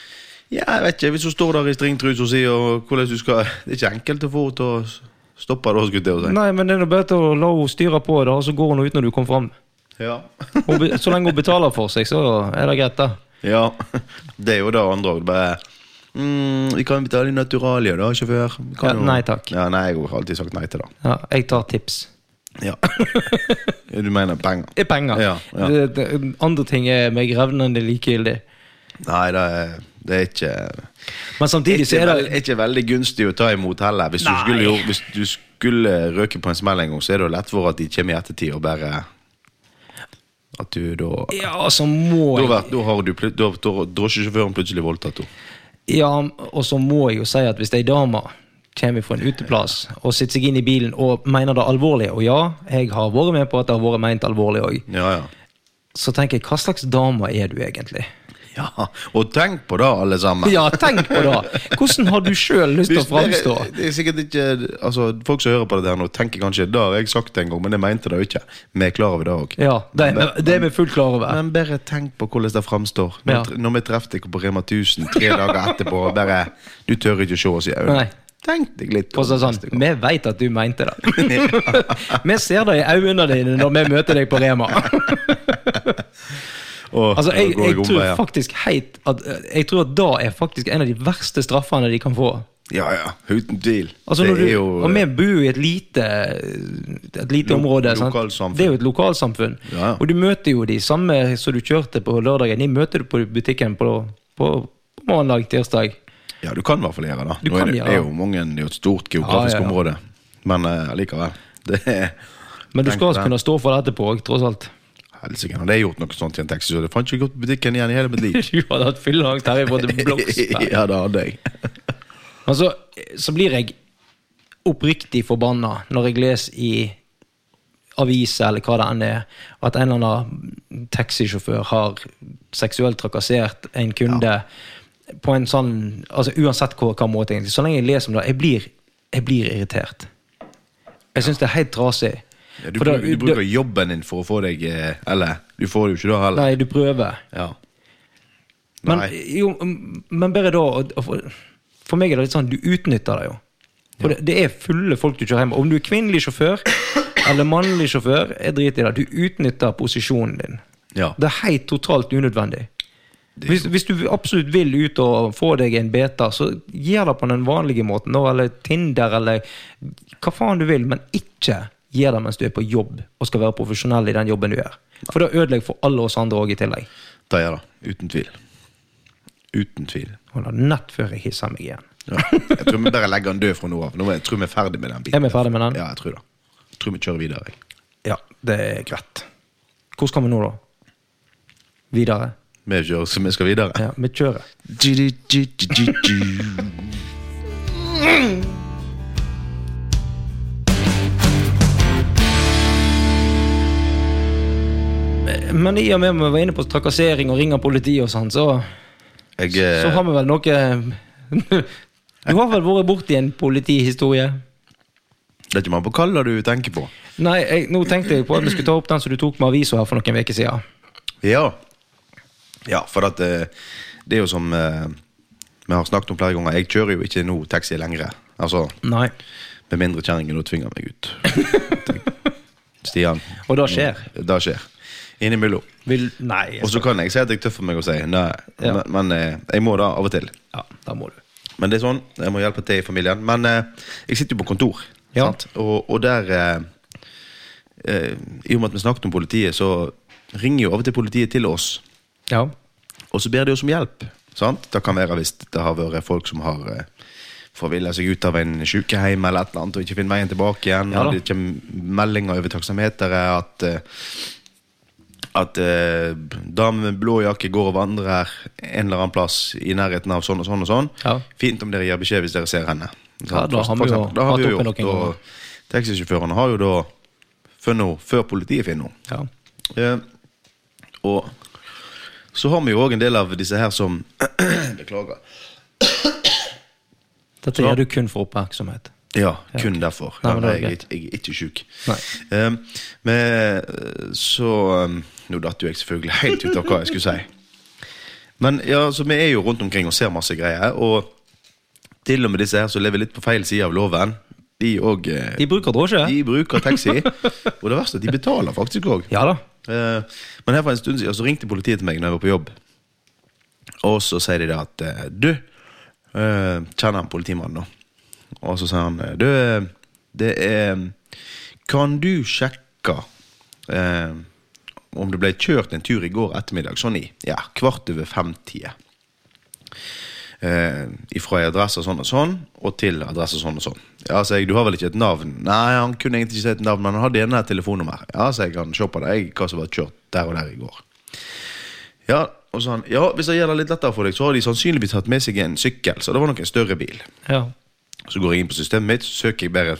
[SPEAKER 2] Ja, jeg vet ikke, Hvis hun står der i stringtruse og sier og hvordan du skal Det er ikke enkelt å få henne til å s- stoppe det. skulle jeg til å si.
[SPEAKER 1] Nei, men det er nå bedre å la henne styre på det, og så går hun ut når du kommer fram. <laughs>
[SPEAKER 2] Ja. <laughs>
[SPEAKER 1] Hun be- Så lenge hun betaler for seg, så er det greit, da.
[SPEAKER 2] ja. <laughs> Det er jo det andre òg. Bare mm, Vi kan betale i naturalier, da, sjåfør. Vi Kan
[SPEAKER 1] Ja,
[SPEAKER 2] jo-
[SPEAKER 1] nei takk.
[SPEAKER 2] Ja, nei, Jeg har alltid sagt nei til det.
[SPEAKER 1] Ja, jeg tar tips.
[SPEAKER 2] Ja. <laughs> Ja, du mener penger?
[SPEAKER 1] Det er penger.
[SPEAKER 2] Ja, ja.
[SPEAKER 1] Det, det, andre ting er meg revnende likegyldig.
[SPEAKER 2] Nei, det er, det er ikke
[SPEAKER 1] Men samtidig så
[SPEAKER 2] ikke,
[SPEAKER 1] er det
[SPEAKER 2] veld, ikke veldig gunstig å ta imot heller. Hvis du,
[SPEAKER 1] Nei.
[SPEAKER 2] skulle, jo- hvis du skulle røke på en smell en gang, så er det jo lett for at de kommer i ettertid og bare At du da
[SPEAKER 1] Ja, altså må
[SPEAKER 2] Da,
[SPEAKER 1] jeg
[SPEAKER 2] vært- da har du plut- da, da, har drosjesjåføren plutselig voldtatt henne.
[SPEAKER 1] Ja, og så må jeg jo si at hvis ei dame kommer fra en uteplass og sitter seg inn i bilen og mener det alvorlig, og ja, jeg har vært med på at det har vært meint alvorlig òg,
[SPEAKER 2] Ja, ja.
[SPEAKER 1] så tenker jeg hva slags dame er du egentlig?
[SPEAKER 2] ja. Og tenk på det, alle sammen.
[SPEAKER 1] Ja, tenk på det! Hvordan har du sjøl lyst til å
[SPEAKER 2] Hvis
[SPEAKER 1] framstå?
[SPEAKER 2] dere- det er sikkert ikke altså, Folk som hører på det der nå, tenker kanskje det har jeg sagt det en gang, men jeg mente det jo ikke. Vi er klar over det òg.
[SPEAKER 1] Ja, det, det er vi fullt klar over.
[SPEAKER 2] Men bare tenk på hvordan det framstår. Når,
[SPEAKER 1] Ja.
[SPEAKER 2] når vi traff deg på Rema 1000 tre dager etterpå, og bare Du tør ikke å se oss i øynene.
[SPEAKER 1] Nei.
[SPEAKER 2] Tenk deg litt
[SPEAKER 1] Og så
[SPEAKER 2] om
[SPEAKER 1] sånn,
[SPEAKER 2] neste gang.
[SPEAKER 1] vi veit at du
[SPEAKER 2] <laughs>
[SPEAKER 1] mente det. <laughs> vi ser det i øynene dine når vi møter deg på Rema.
[SPEAKER 2] Åh,
[SPEAKER 1] Altså, jeg,
[SPEAKER 2] nå går
[SPEAKER 1] jeg tror
[SPEAKER 2] omveier.
[SPEAKER 1] faktisk heit at, Jeg tror at da er faktisk en av de verste straffene de kan få.
[SPEAKER 2] Ja, ja. Uten tvil.
[SPEAKER 1] Altså,
[SPEAKER 2] det
[SPEAKER 1] når du,
[SPEAKER 2] er jo
[SPEAKER 1] og vi bor jo i et lite, et lite
[SPEAKER 2] Lo-
[SPEAKER 1] område. sant?
[SPEAKER 2] lokalsamfunn.
[SPEAKER 1] Det er jo et lokalsamfunn.
[SPEAKER 2] Ja, ja.
[SPEAKER 1] Og du møter jo de samme som du kjørte på lørdagen, de møter du på butikken på, på, på mandag, tirsdag.
[SPEAKER 2] Ja, du kan i hvert fall gjøre det.
[SPEAKER 1] Du
[SPEAKER 2] Nå
[SPEAKER 1] kan
[SPEAKER 2] er det,
[SPEAKER 1] gjøre
[SPEAKER 2] det er
[SPEAKER 1] det.
[SPEAKER 2] jo mange det er jo et stort geografisk
[SPEAKER 1] Ja, ja, ja.
[SPEAKER 2] område. Men eh, allikevel. Det er
[SPEAKER 1] Men du
[SPEAKER 2] Tenk
[SPEAKER 1] skal
[SPEAKER 2] på det.
[SPEAKER 1] kunne stå for det etterpå, tross alt. <laughs>
[SPEAKER 2] Helsike, hadde jeg gjort noe sånt i en taxi, så hadde jeg fant ikke gått på butikken igjen i hele mitt liv.
[SPEAKER 1] Du hadde hatt fylleangst herifra
[SPEAKER 2] <laughs>
[SPEAKER 1] til Bloksberg.
[SPEAKER 2] ja, det hadde jeg.
[SPEAKER 1] Men så, så blir jeg oppriktig forbanna når jeg leser i aviser eller hva det enn er, at en eller annen taxisjåfør har seksuelt trakassert en kunde på en sånn altså Uansett hva, hva måte, egentlig. Så lenge jeg leser om det, jeg blir, jeg blir irritert. Jeg syns det er helt trasig.
[SPEAKER 2] Ja, du,
[SPEAKER 1] For da-
[SPEAKER 2] bruker, du bruker jobben din for å få deg eh, Eller, du får det jo ikke da heller.
[SPEAKER 1] Nei, du prøver.
[SPEAKER 2] Ja.
[SPEAKER 1] Men,
[SPEAKER 2] Nei.
[SPEAKER 1] jo, men bare da og- og for, for meg er det litt sånn, du utnytter det jo. For det, det er fulle folk du kjører hjem med. Om du er kvinnelig sjåfør eller mannlig sjåfør, jeg driter i det. Du utnytter posisjonen din.
[SPEAKER 2] Ja.
[SPEAKER 1] Det er helt totalt unødvendig. Hvis, hvis du absolutt vil ut og få deg en beta, så gjør det på den vanlige måten. nå, Eller Tinder, eller hva faen du vil, men ikke gjør det mens du er på jobb og skal være profesjonell i den jobben du gjør. For da ødelegger for alle oss andre òg i tillegg.
[SPEAKER 2] Det gjør det. Uten tvil. Uten tvil.
[SPEAKER 1] Holder nett før jeg hisser meg igjen.
[SPEAKER 2] Ja. Jeg tror vi bare legger den død fra nå av. Nå er jeg tror vi er ferdig med den
[SPEAKER 1] Er
[SPEAKER 2] biten.
[SPEAKER 1] vi ferdig med den?
[SPEAKER 2] Ja, jeg tror det. Jeg tror vi kjører videre. jeg.
[SPEAKER 1] Ja, det er greit. Hvor skal vi nå, da? Videre?
[SPEAKER 2] Vi kjører så vi skal videre.
[SPEAKER 1] Ja, vi kjører. Men i og med at vi var inne på trakassering og ringer politiet og sånn, så,
[SPEAKER 2] Jeg, eh,
[SPEAKER 1] så har vi vel noe <laughs> Du har vel vært borti en politihistorie?
[SPEAKER 2] Det er ikke man på kalla du tenker på.
[SPEAKER 1] Nei, jeg, nå tenkte jeg på at vi skulle ta opp den som du tok med avisa her for noen uker siden.
[SPEAKER 2] Ja, ja for at eh, det er jo som eh, vi har snakket om flere ganger, jeg kjører jo ikke nå taxi lenger. Altså,
[SPEAKER 1] Nei.
[SPEAKER 2] med mindre kjerringen nå tvinger meg ut.
[SPEAKER 1] <laughs>
[SPEAKER 2] Stian.
[SPEAKER 1] Og det skjer.
[SPEAKER 2] Det skjer. Innimellom.
[SPEAKER 1] Vil Nei.
[SPEAKER 2] Og så kan jeg si at jeg tøffer meg og si nei,
[SPEAKER 1] Ja.
[SPEAKER 2] men, men eh, jeg må det av og til.
[SPEAKER 1] Ja, da må du.
[SPEAKER 2] Men det er sånn, jeg må hjelpe til i familien. Men eh, jeg sitter jo på kontor,
[SPEAKER 1] Ja.
[SPEAKER 2] sant? Og, og der eh, eh, I og med at vi snakket om politiet, så ringer jo av og til politiet til oss.
[SPEAKER 1] Ja.
[SPEAKER 2] Og så ber de oss om hjelp. Sant? Det kan være hvis det har vært folk som har eh, forvilla seg ut av en sykehjem eller et eller annet, og ikke finner veien tilbake igjen.
[SPEAKER 1] Ja da.
[SPEAKER 2] og det kommer meldinger over taksameteret at eh, at eh, dame med blå jakke går og vandrer her en eller annen plass i nærheten av sånn og sånn. og sånn
[SPEAKER 1] Ja.
[SPEAKER 2] Fint om dere gir beskjed hvis dere ser henne.
[SPEAKER 1] Ja, da har
[SPEAKER 2] For
[SPEAKER 1] vi jo
[SPEAKER 2] eksempel. Da har vi
[SPEAKER 1] hatt
[SPEAKER 2] jo
[SPEAKER 1] oppe
[SPEAKER 2] gjort,
[SPEAKER 1] noen ganger.
[SPEAKER 2] og Taxisjåførene har jo da funnet henne før politiet finner henne.
[SPEAKER 1] ja.
[SPEAKER 2] Eh, og så har vi jo òg en del av disse her som Beklager.
[SPEAKER 1] Dette gjør du kun for oppmerksomhet.
[SPEAKER 2] Ja, kun derfor.
[SPEAKER 1] Nei, men
[SPEAKER 2] Ja,
[SPEAKER 1] det er
[SPEAKER 2] jeg,
[SPEAKER 1] greit.
[SPEAKER 2] jeg er ikke sjuk.
[SPEAKER 1] Nei.
[SPEAKER 2] Eh, men eh, så eh, Nå datt jo jeg selvfølgelig helt ut av hva jeg skulle si. Men ja, så vi er jo rundt omkring og ser masse greier. Og til og med disse her som lever litt på feil side av loven, de òg eh,
[SPEAKER 1] De bruker drosje.
[SPEAKER 2] de bruker taxi. og det verste er at de betaler faktisk òg.
[SPEAKER 1] Ja da.
[SPEAKER 2] Eh, Men her for en stund siden så ringte politiet til meg når jeg var på jobb. Og så sier de det at eh, Du, eh, kjenner han politimannen nå? Og så sier han eh, Du, eh, det er Kan du sjekke eh, om det ble kjørt en tur i går ettermiddag? Sånn i ja, kvart over fem-tida. Eh, ifra adresse sånn og sånn, og til adresse sånn og sånn. Ja, sier jeg, du har vel ikke et navn? Nei, han kunne egentlig ikke si et navn, men han hadde gjerne et telefonnummer. Ja, sier jeg, kan se på deg hva som var kjørt der og der i går. Ja, og så han, ja, hvis det gjør det litt lettere for deg, så har de sannsynligvis hatt med seg en sykkel, så det var nok en større bil.
[SPEAKER 1] Ja.
[SPEAKER 2] Så går jeg inn på systemet mitt, så søker jeg bare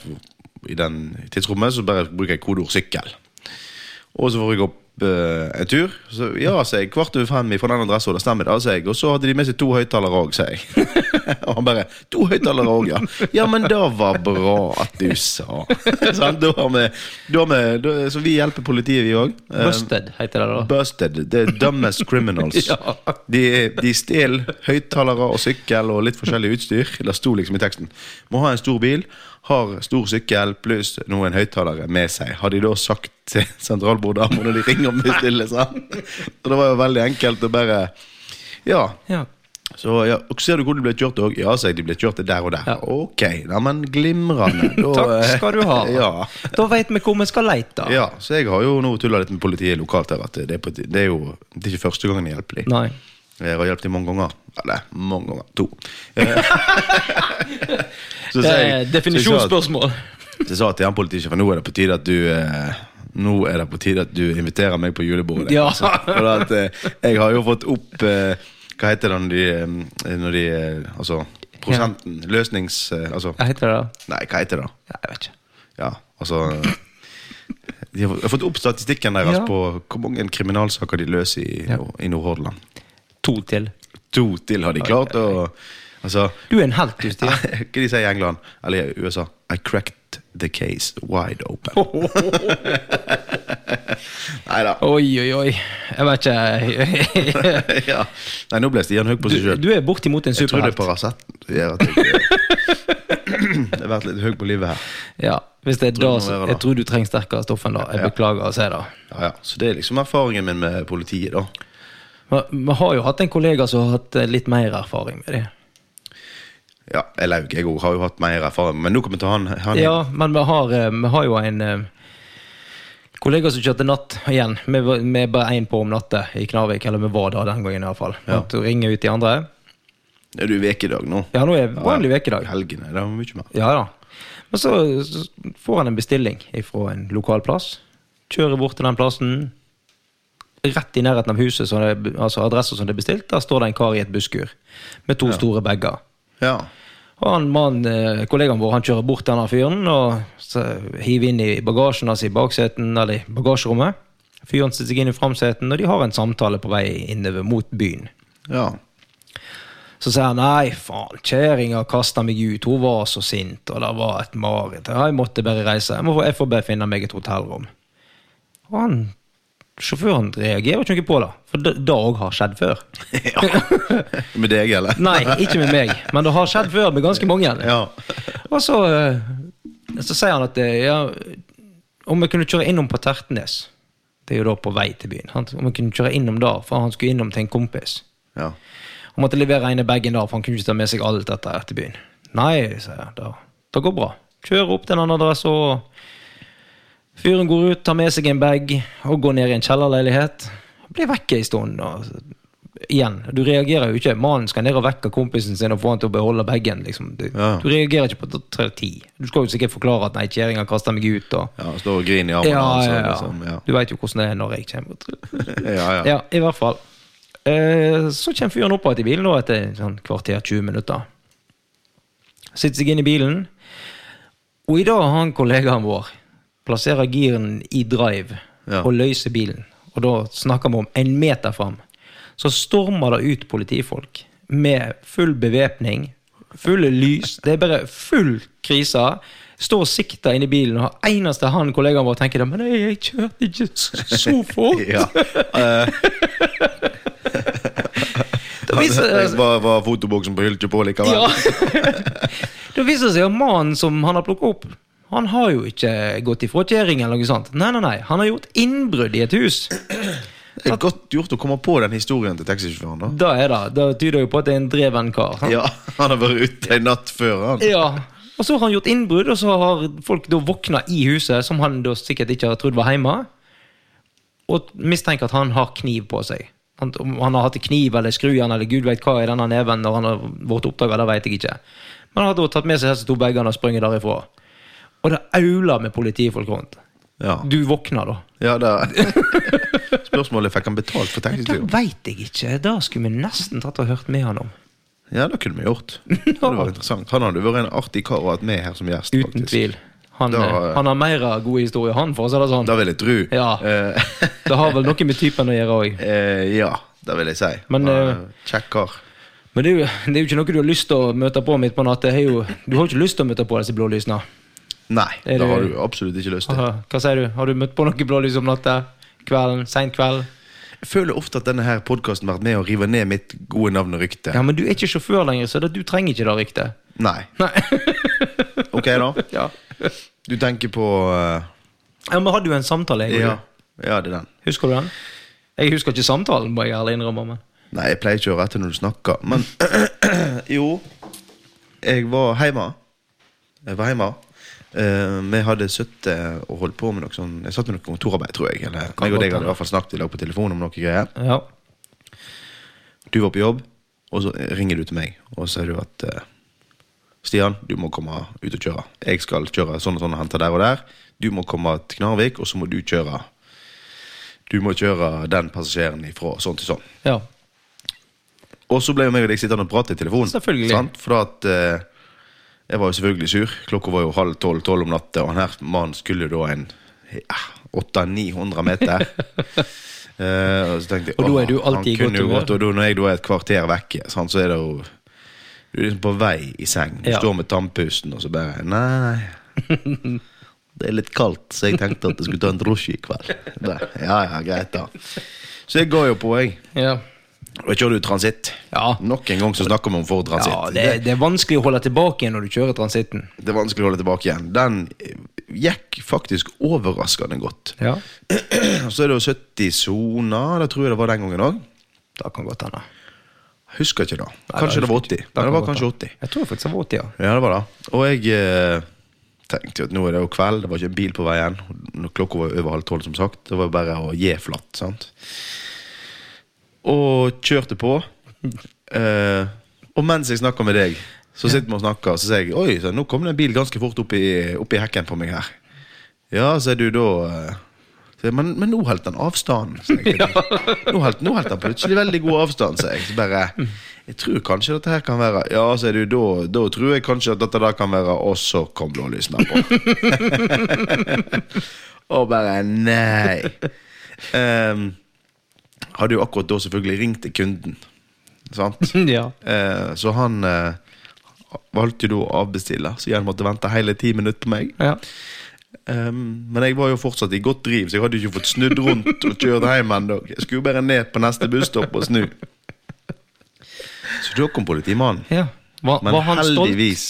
[SPEAKER 2] i den tidsrommet, så bare bruker jeg kodeord sykkel. Og så får jeg opp eh, en tur. Så, ja, sier jeg. Kvart over fem fra den adressen, og det stemmer, da, sier jeg. Og så hadde de med seg to høyttalere òg, sier jeg. <laughs> og han bare To høyttalere òg, ja. Ja, men det var bra at du sa. <laughs> sånn, da har vi, da har vi da, Så vi hjelper politiet, vi òg.
[SPEAKER 1] Busted heter det da.
[SPEAKER 2] Busted. The dumbest criminals.
[SPEAKER 1] <laughs> Ja.
[SPEAKER 2] De, de stjal høyttalere og sykkel og litt forskjellig utstyr. Det sto liksom i teksten. Må ha en stor bil, har stor sykkel pluss noen høyttalere med seg. Har de da sagt til sentralbordet når de ringer om bestille, sant? Så det var jo veldig enkelt å bare Ja.
[SPEAKER 1] Ja.
[SPEAKER 2] Så ja, og ser du hvor de ble kjørt òg? Ja, sier jeg, de ble kjørt der og der.
[SPEAKER 1] Ja.
[SPEAKER 2] Ok, nei, men
[SPEAKER 1] <laughs>
[SPEAKER 2] glimrende. Da,
[SPEAKER 1] Takk skal du ha.
[SPEAKER 2] eh, <laughs> Ja.
[SPEAKER 1] Da veit vi hvor vi skal leite.
[SPEAKER 2] Ja, så jeg har jo nå tulla litt med politiet lokalt her. At det er, på, det er jo det er ikke første gangen jeg hjelper dem.
[SPEAKER 1] Nei.
[SPEAKER 2] Jeg har hjulpet dem mange ganger. Eller mange ganger. To.
[SPEAKER 1] <laughs>
[SPEAKER 2] Eh, så
[SPEAKER 1] Det er
[SPEAKER 2] sier jeg- Så
[SPEAKER 1] Eh, definisjonsspørsmål.
[SPEAKER 2] jeg sa- så jeg sa til han politisjefen nå er det på tide at du eh, nå er det på tide at du inviterer meg på julebordet.
[SPEAKER 1] Ja.
[SPEAKER 2] Altså, for at, eh, jeg har jo fått opp eh, Hva heter det når de, eh, når de eh, Altså prosenten. Løsnings... Eh, altså
[SPEAKER 1] Hva heter det? da?
[SPEAKER 2] Nei, hva heter det?
[SPEAKER 1] Ja, jeg vet ikke.
[SPEAKER 2] Ja, altså De har har fått opp statistikken deres
[SPEAKER 1] Ja.
[SPEAKER 2] på hvor mange kriminalsaker de løser i, i Nordhordland.
[SPEAKER 1] To til.
[SPEAKER 2] To til har de klart, og altså
[SPEAKER 1] Du er en helt, du, Stian.
[SPEAKER 2] <laughs> Hva de sier i England, eller i USA? I cracked the case wide
[SPEAKER 1] <laughs>
[SPEAKER 2] open. Nei
[SPEAKER 1] <laughs>
[SPEAKER 2] da.
[SPEAKER 1] Oi, oi, oi. Jeg vet
[SPEAKER 2] <laughs>
[SPEAKER 1] ikke
[SPEAKER 2] ja. Nei, nå ble Stian høy på seg sjøl.
[SPEAKER 1] Du er bortimot en
[SPEAKER 2] Jeg tror det er
[SPEAKER 1] superhelt.
[SPEAKER 2] Paraceten som gjør at jeg <coughs> Jeg har vært litt høy på livet her.
[SPEAKER 1] Ja, hvis det er
[SPEAKER 2] Tror
[SPEAKER 1] da,
[SPEAKER 2] det må
[SPEAKER 1] så
[SPEAKER 2] være det.
[SPEAKER 1] Jeg tror du trenger sterkere stoff enn det. Jeg beklager å si det.
[SPEAKER 2] Ja, ja. Så det er liksom erfaringen min med politiet, da.
[SPEAKER 1] Men Vi har jo hatt en kollega som har hatt eh, litt mer erfaring med det.
[SPEAKER 2] Ja, jeg laug. Jeg òg har jo hatt mer erfaring, men nå kommer vi til han. han
[SPEAKER 1] Ja, men vi har, eh, vi har jo en eh, kollega som kjørte natt igjen. Vi var vi er bare én på om natta i Knarvik, eller vi var da den gangen iallfall. Ja. Ringer ut de andre.
[SPEAKER 2] Er du i vekedag nå?
[SPEAKER 1] Ja, nå er det vanlig ukedag.
[SPEAKER 2] Helgene, det er mye mer.
[SPEAKER 1] Ja da. Men så, så får han en bestilling fra en lokal plass. Kjører bort til den plassen. Rett i nærheten av huset, som det, altså adressa som det er bestilt, der står det en kar i et busskur med to store bager.
[SPEAKER 2] Ja.
[SPEAKER 1] Og han mann, eh, kollegaen vår han kjører bort til denne fyren og så hiver inn i bagasjen hans i bakseten, eller i bagasjerommet. Fyren setter seg inn i framseten, og de har en samtale på vei innover mot byen.
[SPEAKER 2] ja.
[SPEAKER 1] <laughs> Så sier han nei, faen, kjerringa kasta meg ut, hun var så sint, og det var et mareritt. Ja, Jeg måtte bare reise, jeg, må, få- jeg får bare finne meg et hotellrom. Og han, sjåføren reagerer ikke noe på det, for det det òg har skjedd før.
[SPEAKER 2] <laughs> Med deg, eller?
[SPEAKER 1] Nei, ikke med meg, men det har skjedd før med ganske mange.
[SPEAKER 2] Ja.
[SPEAKER 1] Og så, eh, så sier han at eh, ja, om vi kunne kjøre innom på Tertnes Det er jo da på vei til byen. Sant? Om vi kunne kjøre innom da, for han skulle innom til en kompis.
[SPEAKER 2] ja.
[SPEAKER 1] Han måtte levere ene bagen da, for han kunne ikke ta med seg alt dette her til byen. Nei, sier jeg. Det, det går bra. Kjør opp til en annen adresse og Fyren går ut, tar med seg en bag og går ned i en kjellerleilighet. Blir vekke en stund. Og... Igjen, du reagerer jo ikke. Mannen skal ned og vekke kompisen sin og få han til å beholde bagen. Liksom. Du,
[SPEAKER 2] Ja.
[SPEAKER 1] du reagerer ikke på t- tre- ti. Du skal jo sikkert forklare at 'nei, kjerringa kasta meg ut', og
[SPEAKER 2] Ja, Står og griner i armene
[SPEAKER 1] ja,
[SPEAKER 2] hans.
[SPEAKER 1] ja,
[SPEAKER 2] og
[SPEAKER 1] ja.
[SPEAKER 2] Liksom, ja. <laughs>
[SPEAKER 1] Du veit jo hvordan det er når jeg kommer.
[SPEAKER 2] ja, ja.
[SPEAKER 1] Ja, i hvert fall. Eh, så kommer fyren opp igjen i bilen da, etter sånn kvarter 20 minutter. Sitter seg inn i bilen. Og i dag har han kollegaen vår plasserer giren i drive
[SPEAKER 2] Ja.
[SPEAKER 1] og løser bilen. Og da snakker vi om en meter fram. Så stormer det ut politifolk med full bevæpning, fulle lys. Det er bare full krise. Står og sikter inn i bilen, og eneste han kollegaen vår tenker da, men jeg, jeg kjørte ikke så så fort. <laughs>
[SPEAKER 2] ja. Eh,
[SPEAKER 1] Da viser,
[SPEAKER 2] jeg var, var fotoboksen på hyllet på likevel.
[SPEAKER 1] eh, Ja. <laughs> det viser seg at mannen som han har plukket opp, han har jo ikke gått ifra kjerring eller noe sånt. Nei, nei, nei. Han har gjort innbrudd i et hus.
[SPEAKER 2] Det er godt gjort å komme på den historien til taxisjåføren, da.
[SPEAKER 1] Da er det, det tyder jo på at det er en dreven kar. sant?
[SPEAKER 2] Ja, <laughs> Han har vært ute en natt før, han.
[SPEAKER 1] Ja. Og så har han gjort innbrudd, og så har folk da våkna i huset, som han da sikkert ikke har trodd var hjemme, og mistenker at han har kniv på seg. Han, om han har hatt en kniv eller skrujern eller gud veit hva i denne neven når han har vært oppdaga, det veit jeg ikke. Men han har da tatt med seg disse to bagene og sprunget derifra. Og det auler med politifolk rundt.
[SPEAKER 2] Ja,
[SPEAKER 1] Du våkner da.
[SPEAKER 2] ja da. <laughs> Spørsmålet fikk han betalt for
[SPEAKER 1] Det
[SPEAKER 2] taxituren.
[SPEAKER 1] veit jeg ikke. Det skulle vi nesten tatt og hørt med han om.
[SPEAKER 2] Ja, det kunne vi
[SPEAKER 1] <laughs>
[SPEAKER 2] gjort. Det var interessant. Han hadde vært en artig kar å ha hatt med her som gjest.
[SPEAKER 1] Uten
[SPEAKER 2] faktisk.
[SPEAKER 1] tvil. Han,
[SPEAKER 2] Da-
[SPEAKER 1] eh, han har mer av gode historier, han, for å si det sånn.
[SPEAKER 2] Det vil jeg tro.
[SPEAKER 1] Ja.
[SPEAKER 2] Eh,
[SPEAKER 1] Det har vel noe med typen å gjøre òg.
[SPEAKER 2] <laughs> eh, ja, det vil jeg si.
[SPEAKER 1] Men,
[SPEAKER 2] Han er
[SPEAKER 1] eh,
[SPEAKER 2] Kjekk kar.
[SPEAKER 1] Men det er, jo, det er jo ikke noe du har lyst til å møte på midt på natta. Det er jo- Du har jo ikke lyst til å møte på disse blålysene.
[SPEAKER 2] Nei,
[SPEAKER 1] er
[SPEAKER 2] det har
[SPEAKER 1] du-
[SPEAKER 2] du absolutt ikke lyst til.
[SPEAKER 1] Hva hva sier du? Har du møtt på noe blålys om natta? Kvelden? Seint kveld?
[SPEAKER 2] Jeg føler ofte at denne her podkasten har vært med å rive ned mitt gode navn og rykte.
[SPEAKER 1] Ja, men du er ikke sjåfør lenger, så det, du trenger ikke det ryktet.
[SPEAKER 2] Nei.
[SPEAKER 1] Nei. <laughs>
[SPEAKER 2] Ok, da.
[SPEAKER 1] ja.
[SPEAKER 2] Du tenker på eh,
[SPEAKER 1] ja, men hadde jo en samtale, jeg. og
[SPEAKER 2] ja.
[SPEAKER 1] du.
[SPEAKER 2] ja, det er den.
[SPEAKER 1] Husker du den? Jeg husker ikke samtalen, må jeg ærlig innrømme. Men.
[SPEAKER 2] Nei, jeg pleier ikke å høre etter når du snakker, men <clears throat> Jo, jeg var hjemme. Jeg var hjemme. Eh, vi hadde sittet og holdt på med noe sånn Jeg satt med noe kontorarbeid, tror jeg. Eller
[SPEAKER 1] Kan
[SPEAKER 2] meg og
[SPEAKER 1] godt
[SPEAKER 2] deg hadde
[SPEAKER 1] hende.
[SPEAKER 2] i hvert fall snakket i lag på telefon om noe greier.
[SPEAKER 1] Ja.
[SPEAKER 2] Du var på jobb, og så ringer du til meg, og så sier du at eh, Stian, du må komme ut og kjøre. Jeg skal kjøre sånn og sånn og hente der og der. Du må komme til Knarvik, og så må du kjøre Du må kjøre den passasjeren ifra sånn til sånn.
[SPEAKER 1] ja.
[SPEAKER 2] Og så ble jo meg og deg sittende og prate i telefonen.
[SPEAKER 1] Selvfølgelig.
[SPEAKER 2] Sant? For at eh, jeg var jo selvfølgelig sur. Klokka var jo halv tolv, tolv om natta, og han her mannen skulle jo da en ja, 800-900
[SPEAKER 1] <laughs>
[SPEAKER 2] meter. Eh, og så tenkte jeg
[SPEAKER 1] Og da er du
[SPEAKER 2] «Åh, han
[SPEAKER 1] alltid i
[SPEAKER 2] kunne
[SPEAKER 1] godt
[SPEAKER 2] jo
[SPEAKER 1] humør.»
[SPEAKER 2] gått, Og da, når jeg da er et kvarter vekke, sant, så er det jo Du er liksom på vei i seng. Du
[SPEAKER 1] Ja.
[SPEAKER 2] står med tannpusten, og så bare Nei.
[SPEAKER 1] <laughs>
[SPEAKER 2] Det er litt kaldt, så jeg tenkte at jeg skulle ta en drosje i kveld. Da, Ja, ja, greit, da. Så jeg ga jo på, jeg.
[SPEAKER 1] Ja.
[SPEAKER 2] Og jeg kjører jo transitt.
[SPEAKER 1] Ja.
[SPEAKER 2] Nok en gang så snakker vi om Ford Transit.
[SPEAKER 1] ja
[SPEAKER 2] det,
[SPEAKER 1] det, det er vanskelig å holde tilbake når du kjører transitten.
[SPEAKER 2] det er vanskelig å holde tilbake igjen. Den eh, gikk faktisk overraskende godt.
[SPEAKER 1] Ja.
[SPEAKER 2] Så er det jo 70 soner, det tror jeg det var den gangen òg.
[SPEAKER 1] Det kan godt hende.
[SPEAKER 2] Husker ikke da.
[SPEAKER 1] Nei,
[SPEAKER 2] Kanskje
[SPEAKER 1] det
[SPEAKER 2] det var
[SPEAKER 1] husker
[SPEAKER 2] 80.
[SPEAKER 1] jeg ikke.
[SPEAKER 2] Nei, det
[SPEAKER 1] kan
[SPEAKER 2] var
[SPEAKER 1] godt
[SPEAKER 2] kanskje
[SPEAKER 1] hende.
[SPEAKER 2] 80.
[SPEAKER 1] Jeg tror faktisk det var 80, ja.
[SPEAKER 2] Ja, det var det. Og jeg eh, tenkte jo at nå er det jo kveld, det var ikke en bil på veien. Når Klokka var over halv tolv, som sagt. Det var jo bare å gi flatt, sant. Og kjørte på. Eh, og mens jeg snakker med deg, så sitter vi og snakker, og så sier jeg Oi, så nå kom det en bil ganske fort opp i, opp i hekken på meg her. Ja, så er du da eh, så jeg, men, men nå holdt han avstanden. Så jeg, nå, holdt, nå holdt han plutselig veldig god avstand, så jeg så bare Jeg tror kanskje dette her kan være Ja, så er du da Da tror jeg kanskje at dette der kan være Og så kom blålysene på. og bare nei. Ehm, hadde jo akkurat da selvfølgelig ringt til kunden, sant?
[SPEAKER 1] <laughs> ja.
[SPEAKER 2] Eh, så han eh, valgte jo da å avbestille, så jeg måtte vente hele ti minutter på meg.
[SPEAKER 1] ja.
[SPEAKER 2] Ehm, men jeg var jo fortsatt i godt driv, så jeg hadde jo ikke fått snudd rundt og kjørt hjem ennå. Jeg skulle jo bare ned på neste busstopp og snu. Så da kom politimannen.
[SPEAKER 1] Ja. Var,
[SPEAKER 2] Men
[SPEAKER 1] var han stolt?
[SPEAKER 2] heldigvis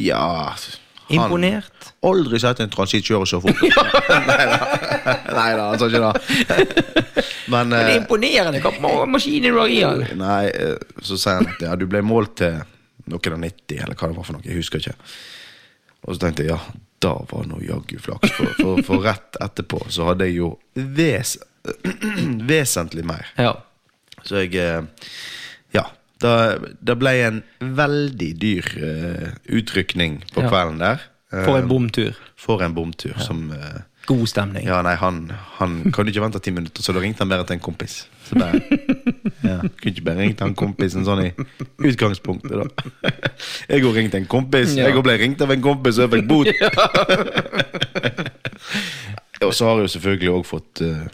[SPEAKER 2] Ja. han-
[SPEAKER 1] Imponert?
[SPEAKER 2] Aldri sett en transitt kjøre så
[SPEAKER 1] <laughs>
[SPEAKER 2] fort. Nei da, han sa ikke det. Men
[SPEAKER 1] Det er
[SPEAKER 2] eh,
[SPEAKER 1] imponerende hva ma- maskinen du har i den.
[SPEAKER 2] Nei, eh, så sier han at ja, du ble målt til noen av 90, eller hva det var for noe. Jeg husker ikke. Og så tenkte jeg ja, Da var nå jaggu flaks, for, for, for rett etterpå så hadde jeg jo ves <clears throat> vesentlig mer.
[SPEAKER 1] Ja.
[SPEAKER 2] Så jeg eh, Ja. Da, da ble jeg en veldig dyr eh, utrykning på
[SPEAKER 1] Ja.
[SPEAKER 2] kvelden der. Eh,
[SPEAKER 1] For en bomtur.
[SPEAKER 2] for en bomtur som eh,
[SPEAKER 1] God stemning.
[SPEAKER 2] Ja, nei, han, han kan du ikke vente ti minutter, så da ringte han bare til en kompis. Så bare, ja, Kunne ikke bare ringt han kompisen sånn i utgangspunktet, da. <laughs> Jeg òg ringte en kompis, jeg òg ble ringt av en kompis, og jeg fikk bot. <laughs> Og så har jeg jo selvfølgelig òg fått eh,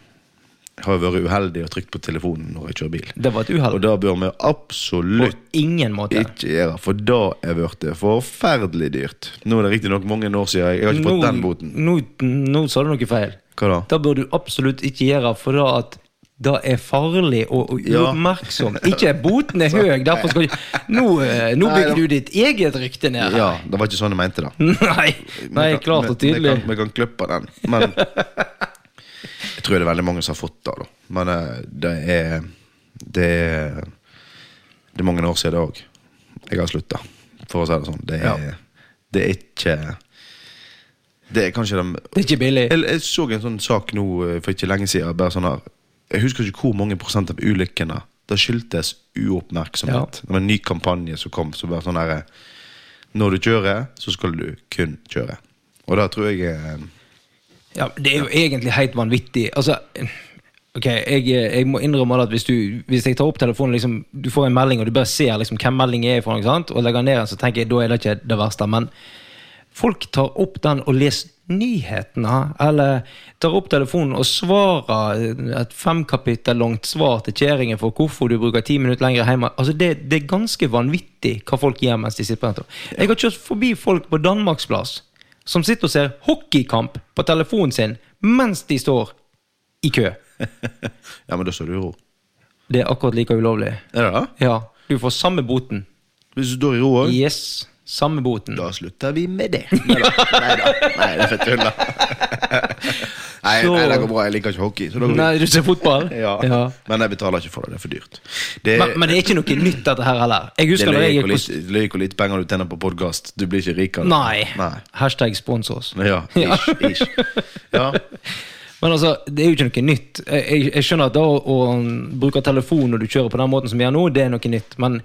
[SPEAKER 2] Har jo vært uheldig og trykt på telefonen når jeg kjører bil.
[SPEAKER 1] Det var et uhell.
[SPEAKER 2] Og da bør vi
[SPEAKER 1] På
[SPEAKER 2] absolutt
[SPEAKER 1] ingen måte.
[SPEAKER 2] ikke gjøre, for da er blitt det forferdelig dyrt. Nå er det riktignok mange år siden, jeg har ikke fått den boten.
[SPEAKER 1] Nå, nå sa du noe feil.
[SPEAKER 2] Hva da?
[SPEAKER 1] Det bør du absolutt ikke gjøre, for da at det er farlig og og
[SPEAKER 2] Ja.
[SPEAKER 1] uoppmerksom. Ikke
[SPEAKER 2] <laughs>
[SPEAKER 1] boten er høy, derfor skal du Nå, eh, nå
[SPEAKER 2] Nei, da-
[SPEAKER 1] bygger du ditt eget rykte ned.
[SPEAKER 2] Ja, det var ikke sånn jeg mente det.
[SPEAKER 1] <laughs> Nei, nei,
[SPEAKER 2] Vi kan-
[SPEAKER 1] klart og
[SPEAKER 2] vi- Vi
[SPEAKER 1] tydelig.
[SPEAKER 2] kan, vi kan klippe den,
[SPEAKER 1] <laughs>
[SPEAKER 2] men Jeg tror det er veldig mange som har fått det, da. Men eh, det er Det er, det er mange år siden det òg. Jeg har slutta, for å si det sånn. Det er,
[SPEAKER 1] Ja.
[SPEAKER 2] det er ikke Det er kanskje de
[SPEAKER 1] Det er ikke billig.
[SPEAKER 2] jeg, jeg så en sånn sak nå eh, for ikke lenge siden. Bare sånn her. Jeg husker ikke hvor mange prosent av ulykkene det skyldtes uoppmerksomhet. Det var en ny kampanje som kom. Så bare sånn her, eh, Når du kjører, så skal du kun kjøre. Og da tror jeg eh, <laughs>
[SPEAKER 1] Ja, det er jo egentlig helt vanvittig. Altså, ok, jeg, jeg må innrømme det at hvis, du, hvis jeg tar opp telefonen, liksom, du får en melding, og du bare ser liksom, hvem meldingen er fra, ikke sant? og legger ned den, så tenker jeg da er det ikke det verste. Men folk tar opp den og leser nyhetene, eller tar opp telefonen og svarer et fem kapittel langt svar til kjerringen for hvorfor du bruker ti minutter lenger hjemme. Altså, det, det er ganske vanvittig hva folk gjør mens de sitter på nettet. Jeg har kjørt forbi folk på Danmarksplass som sitter og ser hockeykamp på telefonen sin mens de står i kø.
[SPEAKER 2] Ja, men da står du i ro.
[SPEAKER 1] Det er akkurat like ulovlig.
[SPEAKER 2] Er det det?
[SPEAKER 1] Ja, du får samme boten.
[SPEAKER 2] Hvis du står i ro òg,
[SPEAKER 1] Yes, samme boten.
[SPEAKER 2] da slutter vi med det. Nei da. Nei, da. nei det er fett tull, da. Nei,
[SPEAKER 1] Så-
[SPEAKER 2] nei, det går bra. Jeg liker ikke hockey. Så det går
[SPEAKER 1] Nei, du ser fotball?
[SPEAKER 2] bra. <laughs> ja.
[SPEAKER 1] Ja.
[SPEAKER 2] Men jeg betaler ikke for det. Det er for dyrt. Det,
[SPEAKER 1] Men, men det er ikke noe nytt, dette her heller. Jeg
[SPEAKER 2] Det
[SPEAKER 1] husker da
[SPEAKER 2] løy
[SPEAKER 1] jeg gikk
[SPEAKER 2] hvor
[SPEAKER 1] på
[SPEAKER 2] lite, løy hvor lite penger du tjener på podkast. Du blir ikke rik av det.
[SPEAKER 1] Nei.
[SPEAKER 2] Nei.
[SPEAKER 1] Hashtag spons oss.
[SPEAKER 2] Ja,
[SPEAKER 1] <laughs>
[SPEAKER 2] ish, ish. Ja.
[SPEAKER 1] Men altså, det er jo ikke noe nytt. Jeg, jeg, jeg skjønner at da å, å bruke telefon når du kjører på den måten som vi gjør nå, det er noe nytt. Men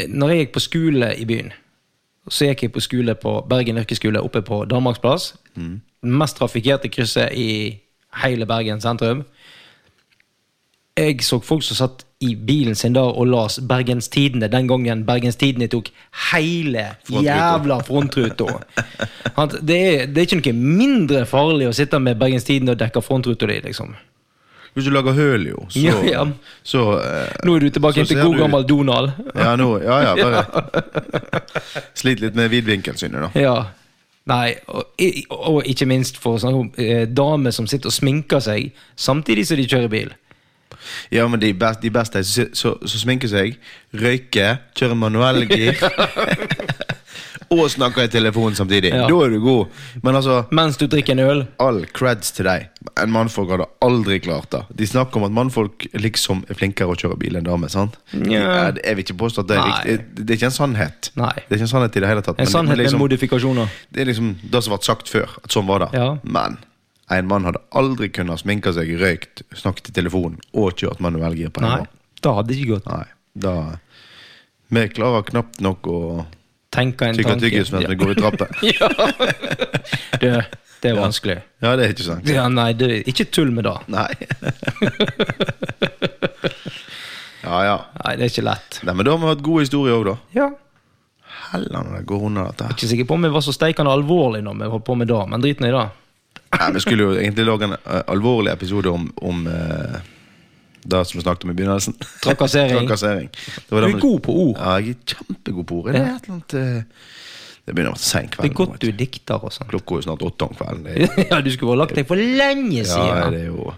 [SPEAKER 1] eh, når jeg gikk på skole i byen, så gikk jeg på skole på Bergen yrkesskole oppe på Danmarksplass.
[SPEAKER 2] Mm.
[SPEAKER 1] Den mest trafikkerte krysset i hele Bergen sentrum. Jeg så folk som satt i bilen sin da og las Bergens Tidende den gangen Bergens Tidende tok hele
[SPEAKER 2] Frontruta.
[SPEAKER 1] jævla frontruta. At Det, er- det er ikke noe mindre farlig å sitte med Bergens Tidende og dekke frontruta di, liksom.
[SPEAKER 2] Hvis du lager høl, jo, så,
[SPEAKER 1] Ja, ja.
[SPEAKER 2] så eh,
[SPEAKER 1] Nå er du tilbake
[SPEAKER 2] Så
[SPEAKER 1] til
[SPEAKER 2] ser
[SPEAKER 1] god
[SPEAKER 2] du-
[SPEAKER 1] gammel Donald.
[SPEAKER 2] Ja, nå, ja, ja,
[SPEAKER 1] <laughs>
[SPEAKER 2] bare Slit litt med vidvinkelsynet, da.
[SPEAKER 1] Ja. Nei, og, i- og ikke minst for å snakke om eh, damer som sitter og sminker seg samtidig som de kjører bil.
[SPEAKER 2] Ja, men de, best, de beste så, så, så sminker seg, røyker, kjører
[SPEAKER 1] <laughs>
[SPEAKER 2] manuellgir <laughs> og snakker i telefonen samtidig.
[SPEAKER 1] Ja.
[SPEAKER 2] Da er du god. Men altså
[SPEAKER 1] Mens du drikker en øl.
[SPEAKER 2] All creds til deg. En mannfolk hadde aldri klart det. De snakker om at mannfolk liksom er flinkere å kjøre bil enn damer. sant?
[SPEAKER 1] Nja.
[SPEAKER 2] Jeg vil ikke påstå at det er
[SPEAKER 1] Nei.
[SPEAKER 2] riktig. Det er ikke en sannhet.
[SPEAKER 1] Nei.
[SPEAKER 2] Det er ikke en sannhet i det hele tatt.
[SPEAKER 1] En
[SPEAKER 2] men-
[SPEAKER 1] sannhet
[SPEAKER 2] men
[SPEAKER 1] med
[SPEAKER 2] liksom,
[SPEAKER 1] modifikasjoner.
[SPEAKER 2] det er liksom det som ble sagt før, at sånn var det.
[SPEAKER 1] Ja.
[SPEAKER 2] Men en mann hadde aldri kunnet sminke seg, røykt, snakket i telefonen og kjørt manuellgir på en
[SPEAKER 1] Nei,
[SPEAKER 2] gang.
[SPEAKER 1] da hadde det ikke gått.
[SPEAKER 2] Nei. Da Vi klarer knapt nok å
[SPEAKER 1] Tenke en
[SPEAKER 2] tygge
[SPEAKER 1] tanke.
[SPEAKER 2] tyggis mens vi går i trapper.
[SPEAKER 1] Ja. <laughs> Det, det er vanskelig.
[SPEAKER 2] Ja, det er ikke sant.
[SPEAKER 1] Ja, nei, det, ikke tull med det.
[SPEAKER 2] Nei. ja, ja.
[SPEAKER 1] Nei, det er ikke lett.
[SPEAKER 2] Nei, men da har vi hatt gode historier òg, da.
[SPEAKER 1] Ja.
[SPEAKER 2] Heller når det går unna dette her.
[SPEAKER 1] Ikke sikker på om jeg var så steikende alvorlig når vi holdt på med det, men drit nå i det.
[SPEAKER 2] Nei, Vi skulle jo egentlig lage en eh, alvorlig episode om, om eh, det som vi snakket om i begynnelsen.
[SPEAKER 1] Trakassering.
[SPEAKER 2] <laughs> Trakassering. Det
[SPEAKER 1] Du
[SPEAKER 2] var det
[SPEAKER 1] er
[SPEAKER 2] vi-
[SPEAKER 1] god på ord.
[SPEAKER 2] Ja, jeg er kjempegod på ord. Det er et eller annet eh, Det begynner å være sein
[SPEAKER 1] Det
[SPEAKER 2] kveld.
[SPEAKER 1] er
[SPEAKER 2] nå,
[SPEAKER 1] godt
[SPEAKER 2] vet
[SPEAKER 1] du er dikter og sånn. <laughs>
[SPEAKER 2] Klokka er jo snart åtte om kvelden. Det, er-
[SPEAKER 1] Ja, du skulle ha lagt deg for lenge
[SPEAKER 2] ja,
[SPEAKER 1] siden.
[SPEAKER 2] det er jo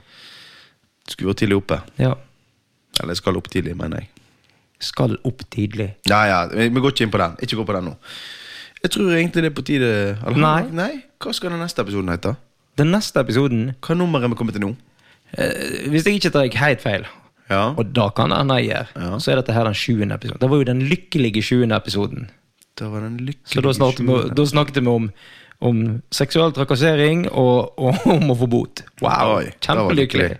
[SPEAKER 2] Skulle vært tidlig oppe.
[SPEAKER 1] Ja.
[SPEAKER 2] Eller jeg skal opp tidlig, mener jeg.
[SPEAKER 1] Skal opp tidlig.
[SPEAKER 2] Ja, ja, vi vi går ikke inn på den. Ikke gå på den nå. Jeg tror egentlig det er på tide eller,
[SPEAKER 1] Nei.
[SPEAKER 2] Hva skal den neste episoden hete?
[SPEAKER 1] Den neste episoden,
[SPEAKER 2] Hva nummer er vi kommet til nå?
[SPEAKER 1] eh, hvis jeg ikke tar jeg helt feil,
[SPEAKER 2] Ja.
[SPEAKER 1] og da kan det hende jeg gjør,
[SPEAKER 2] Ja.
[SPEAKER 1] så er dette her den sjuende episoden. Det var jo den lykkelige sjuende episoden.
[SPEAKER 2] Da var den lykkelige
[SPEAKER 1] Så da snakket, vi,
[SPEAKER 2] tjuende.
[SPEAKER 1] da snakket vi om om seksuell trakassering og, <laughs> og om å få bot. Wow,
[SPEAKER 2] Oi, det var
[SPEAKER 1] kjempelykkelig.
[SPEAKER 2] lykkelig.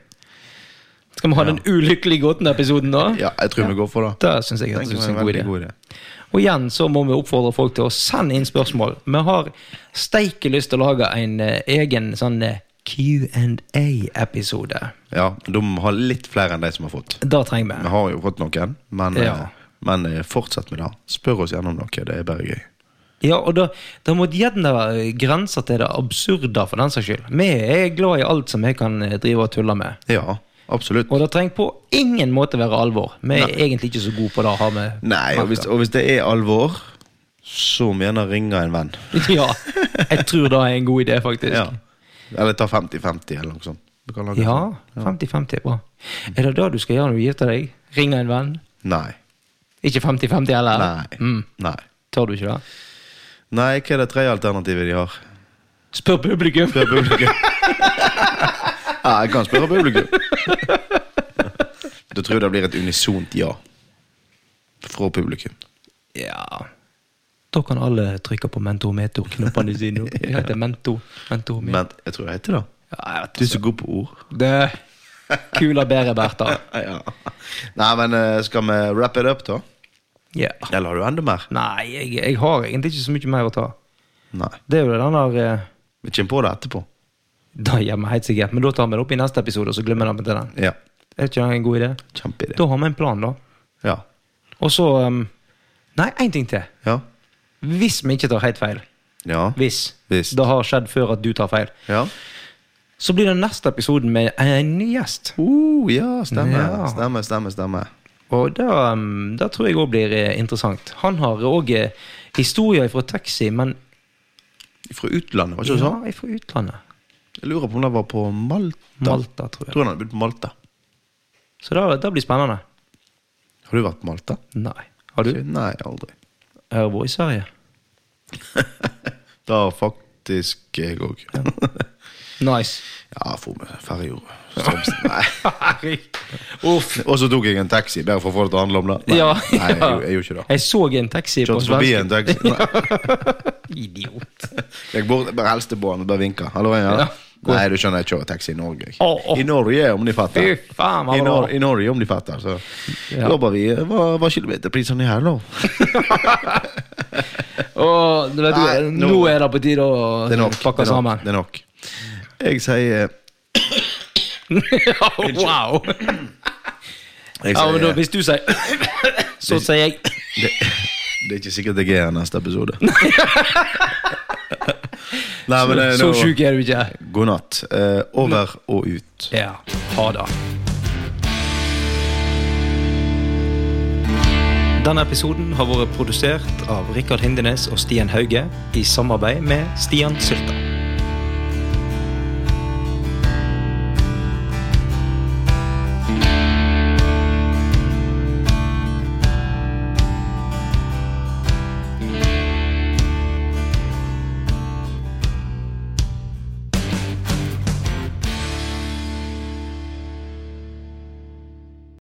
[SPEAKER 1] Skal vi ha den ulykkelige gåten-episoden da?
[SPEAKER 2] Ja, jeg tror vi går for det.
[SPEAKER 1] Det syns jeg
[SPEAKER 2] Den
[SPEAKER 1] høres ut
[SPEAKER 2] synes
[SPEAKER 1] som
[SPEAKER 2] jeg
[SPEAKER 1] en
[SPEAKER 2] er
[SPEAKER 1] god
[SPEAKER 2] veldig
[SPEAKER 1] idé.
[SPEAKER 2] god idé.
[SPEAKER 1] Og igjen så må vi oppfordre folk til å sende inn spørsmål. Vi har steike lyst til å lage en eh, egen sånn eh, Q&A-episode.
[SPEAKER 2] Ja, de har litt flere enn de som har fått.
[SPEAKER 1] Det trenger
[SPEAKER 2] Vi
[SPEAKER 1] vi.
[SPEAKER 2] har jo fått noen, men,
[SPEAKER 1] Ja.
[SPEAKER 2] eh, men eh, fortsett med det. Spør oss gjerne om noe, det er bare gøy.
[SPEAKER 1] Ja, og da, da må det gjerne være grenser til det absurde, for den saks skyld. Vi er glad i alt som vi kan eh, drive og tulle med.
[SPEAKER 2] Ja, absolutt.
[SPEAKER 1] Og det trenger på ingen måte være alvor. Vi er egentlig ikke så gode på det. Har vi
[SPEAKER 2] Nei, og hvis, og hvis det er alvor, så må gjerne ringe en venn.
[SPEAKER 1] <laughs> Ja, jeg tror det er en god idé, faktisk.
[SPEAKER 2] Ja. Eller ta 50-50, eller noe sånt. Du kan lage
[SPEAKER 1] Ja,
[SPEAKER 2] sånn.
[SPEAKER 1] 50-50 er bra. Er det det du skal gjøre når du gifter deg? Ringe en venn?
[SPEAKER 2] Nei.
[SPEAKER 1] Ikke 50-50 heller?
[SPEAKER 2] Nei.
[SPEAKER 1] Mm.
[SPEAKER 2] Nei.
[SPEAKER 1] Tør du ikke det?
[SPEAKER 2] Nei, hva er det tredje alternativet de har?
[SPEAKER 1] Spør publikum!
[SPEAKER 2] Spør publikum. ja, jeg kan spørre <laughs> publikum. da tror jeg det blir et unisont ja fra publikum.
[SPEAKER 1] <laughs> Ja Da kan alle trykke på mentor-metor-knappene
[SPEAKER 2] <laughs>
[SPEAKER 1] sine. nå. Det heter mentor. mentor metor.
[SPEAKER 2] Men jeg tror det heter det.
[SPEAKER 1] Ja, jeg vet
[SPEAKER 2] Du er så god på ord.
[SPEAKER 1] ikke. det Kula bedre, Bertha.
[SPEAKER 2] <laughs> Ja. Nei, men eh, skal vi wrap it up, da?
[SPEAKER 1] Ja.
[SPEAKER 2] Eller har du enda mer?
[SPEAKER 1] Nei, jeg, jeg har egentlig ikke så mye mer å ta.
[SPEAKER 2] Nei.
[SPEAKER 1] Det er jo den der eh,
[SPEAKER 2] Vi kommer på det etterpå.
[SPEAKER 1] Da gjør vi helt sikkert, men da tar vi det opp i neste episode, og så glemmer vi til den.
[SPEAKER 2] Ja.
[SPEAKER 1] Er ikke det en god idé?
[SPEAKER 2] Kjempeidé.
[SPEAKER 1] Da har vi en plan, da.
[SPEAKER 2] Ja.
[SPEAKER 1] Og så um, Nei, én ting til.
[SPEAKER 2] Ja.
[SPEAKER 1] Hvis vi ikke tar helt feil,
[SPEAKER 2] Ja.
[SPEAKER 1] hvis,
[SPEAKER 2] Hvis.
[SPEAKER 1] det har skjedd før at du tar feil,
[SPEAKER 2] ja.
[SPEAKER 1] så blir det neste episoden med en ny gjest.
[SPEAKER 2] Uh, ja, stemmer.
[SPEAKER 1] Ja.
[SPEAKER 2] Stemmer, stemmer, stemmer.
[SPEAKER 1] Og det, um, det tror jeg òg blir eh, interessant. Han har òg historier fra taxi, men
[SPEAKER 2] Fra utlandet, var det
[SPEAKER 1] ja,
[SPEAKER 2] ikke det sånn?
[SPEAKER 1] fra utlandet.
[SPEAKER 2] Jeg lurer på om det var på Malta.
[SPEAKER 1] Malta, tror
[SPEAKER 2] Jeg
[SPEAKER 1] jeg.
[SPEAKER 2] tror han hadde bodd på Malta.
[SPEAKER 1] Så det, det blir spennende.
[SPEAKER 2] Har du vært på Malta?
[SPEAKER 1] Nei. Har du?
[SPEAKER 2] Nei, aldri.
[SPEAKER 1] Jeg har vært i Sverige.
[SPEAKER 2] Da faktisk jeg òg.
[SPEAKER 1] Nice.
[SPEAKER 2] <laughs> Ja, for meg ferjejord. Strømsen. Nei.
[SPEAKER 1] <laughs> Uff.
[SPEAKER 2] Og så tok jeg en taxi, bare for å få det til å handle om det. Nei,
[SPEAKER 1] Ja,
[SPEAKER 2] Nei jeg,
[SPEAKER 1] ja.
[SPEAKER 2] gjorde- jeg gjorde
[SPEAKER 1] <laughs>
[SPEAKER 2] ikke det.
[SPEAKER 1] Jeg så en taxi på
[SPEAKER 2] Kjørte forbi
[SPEAKER 1] svensk.
[SPEAKER 2] en taxi. Nei.
[SPEAKER 1] <laughs> Idiot.
[SPEAKER 2] Jeg bor, bare helste på han og bare vinka. Hallo, ja.
[SPEAKER 1] Ja.
[SPEAKER 2] Nei, du skjønner, jeg kjører taxi i Norge. jeg.
[SPEAKER 1] Å, å.
[SPEAKER 2] I Norge, om de fatter.
[SPEAKER 1] Fy faen, hva
[SPEAKER 2] I,
[SPEAKER 1] bra.
[SPEAKER 2] Nor I Norge, om de fatter. Så
[SPEAKER 1] Ja.
[SPEAKER 2] jobber vi eh, Hva, hva kilometerprisene er her, da?
[SPEAKER 1] Åh, du vet,
[SPEAKER 2] Nei,
[SPEAKER 1] du,
[SPEAKER 2] nå-
[SPEAKER 1] nå, er det på tide å
[SPEAKER 2] Det er nok.
[SPEAKER 1] pakke
[SPEAKER 2] det er nok,
[SPEAKER 1] sammen.
[SPEAKER 2] Det er nok. Jeg sier
[SPEAKER 1] <laughs> ja, wow!
[SPEAKER 2] jeg
[SPEAKER 1] Ja,
[SPEAKER 2] sier-
[SPEAKER 1] men da, hvis du sier <coughs> Så sier jeg
[SPEAKER 2] Det, det er ikke sikkert jeg er her neste episode. Nei, men det er
[SPEAKER 1] Så
[SPEAKER 2] nå-
[SPEAKER 1] sjuk er du ikke.
[SPEAKER 2] God natt. Eh, over og ut.
[SPEAKER 1] Ja. Ha det. Denne episoden har vært produsert av Rikard Hindenes og Stian Hauge i samarbeid med Stian Sylta.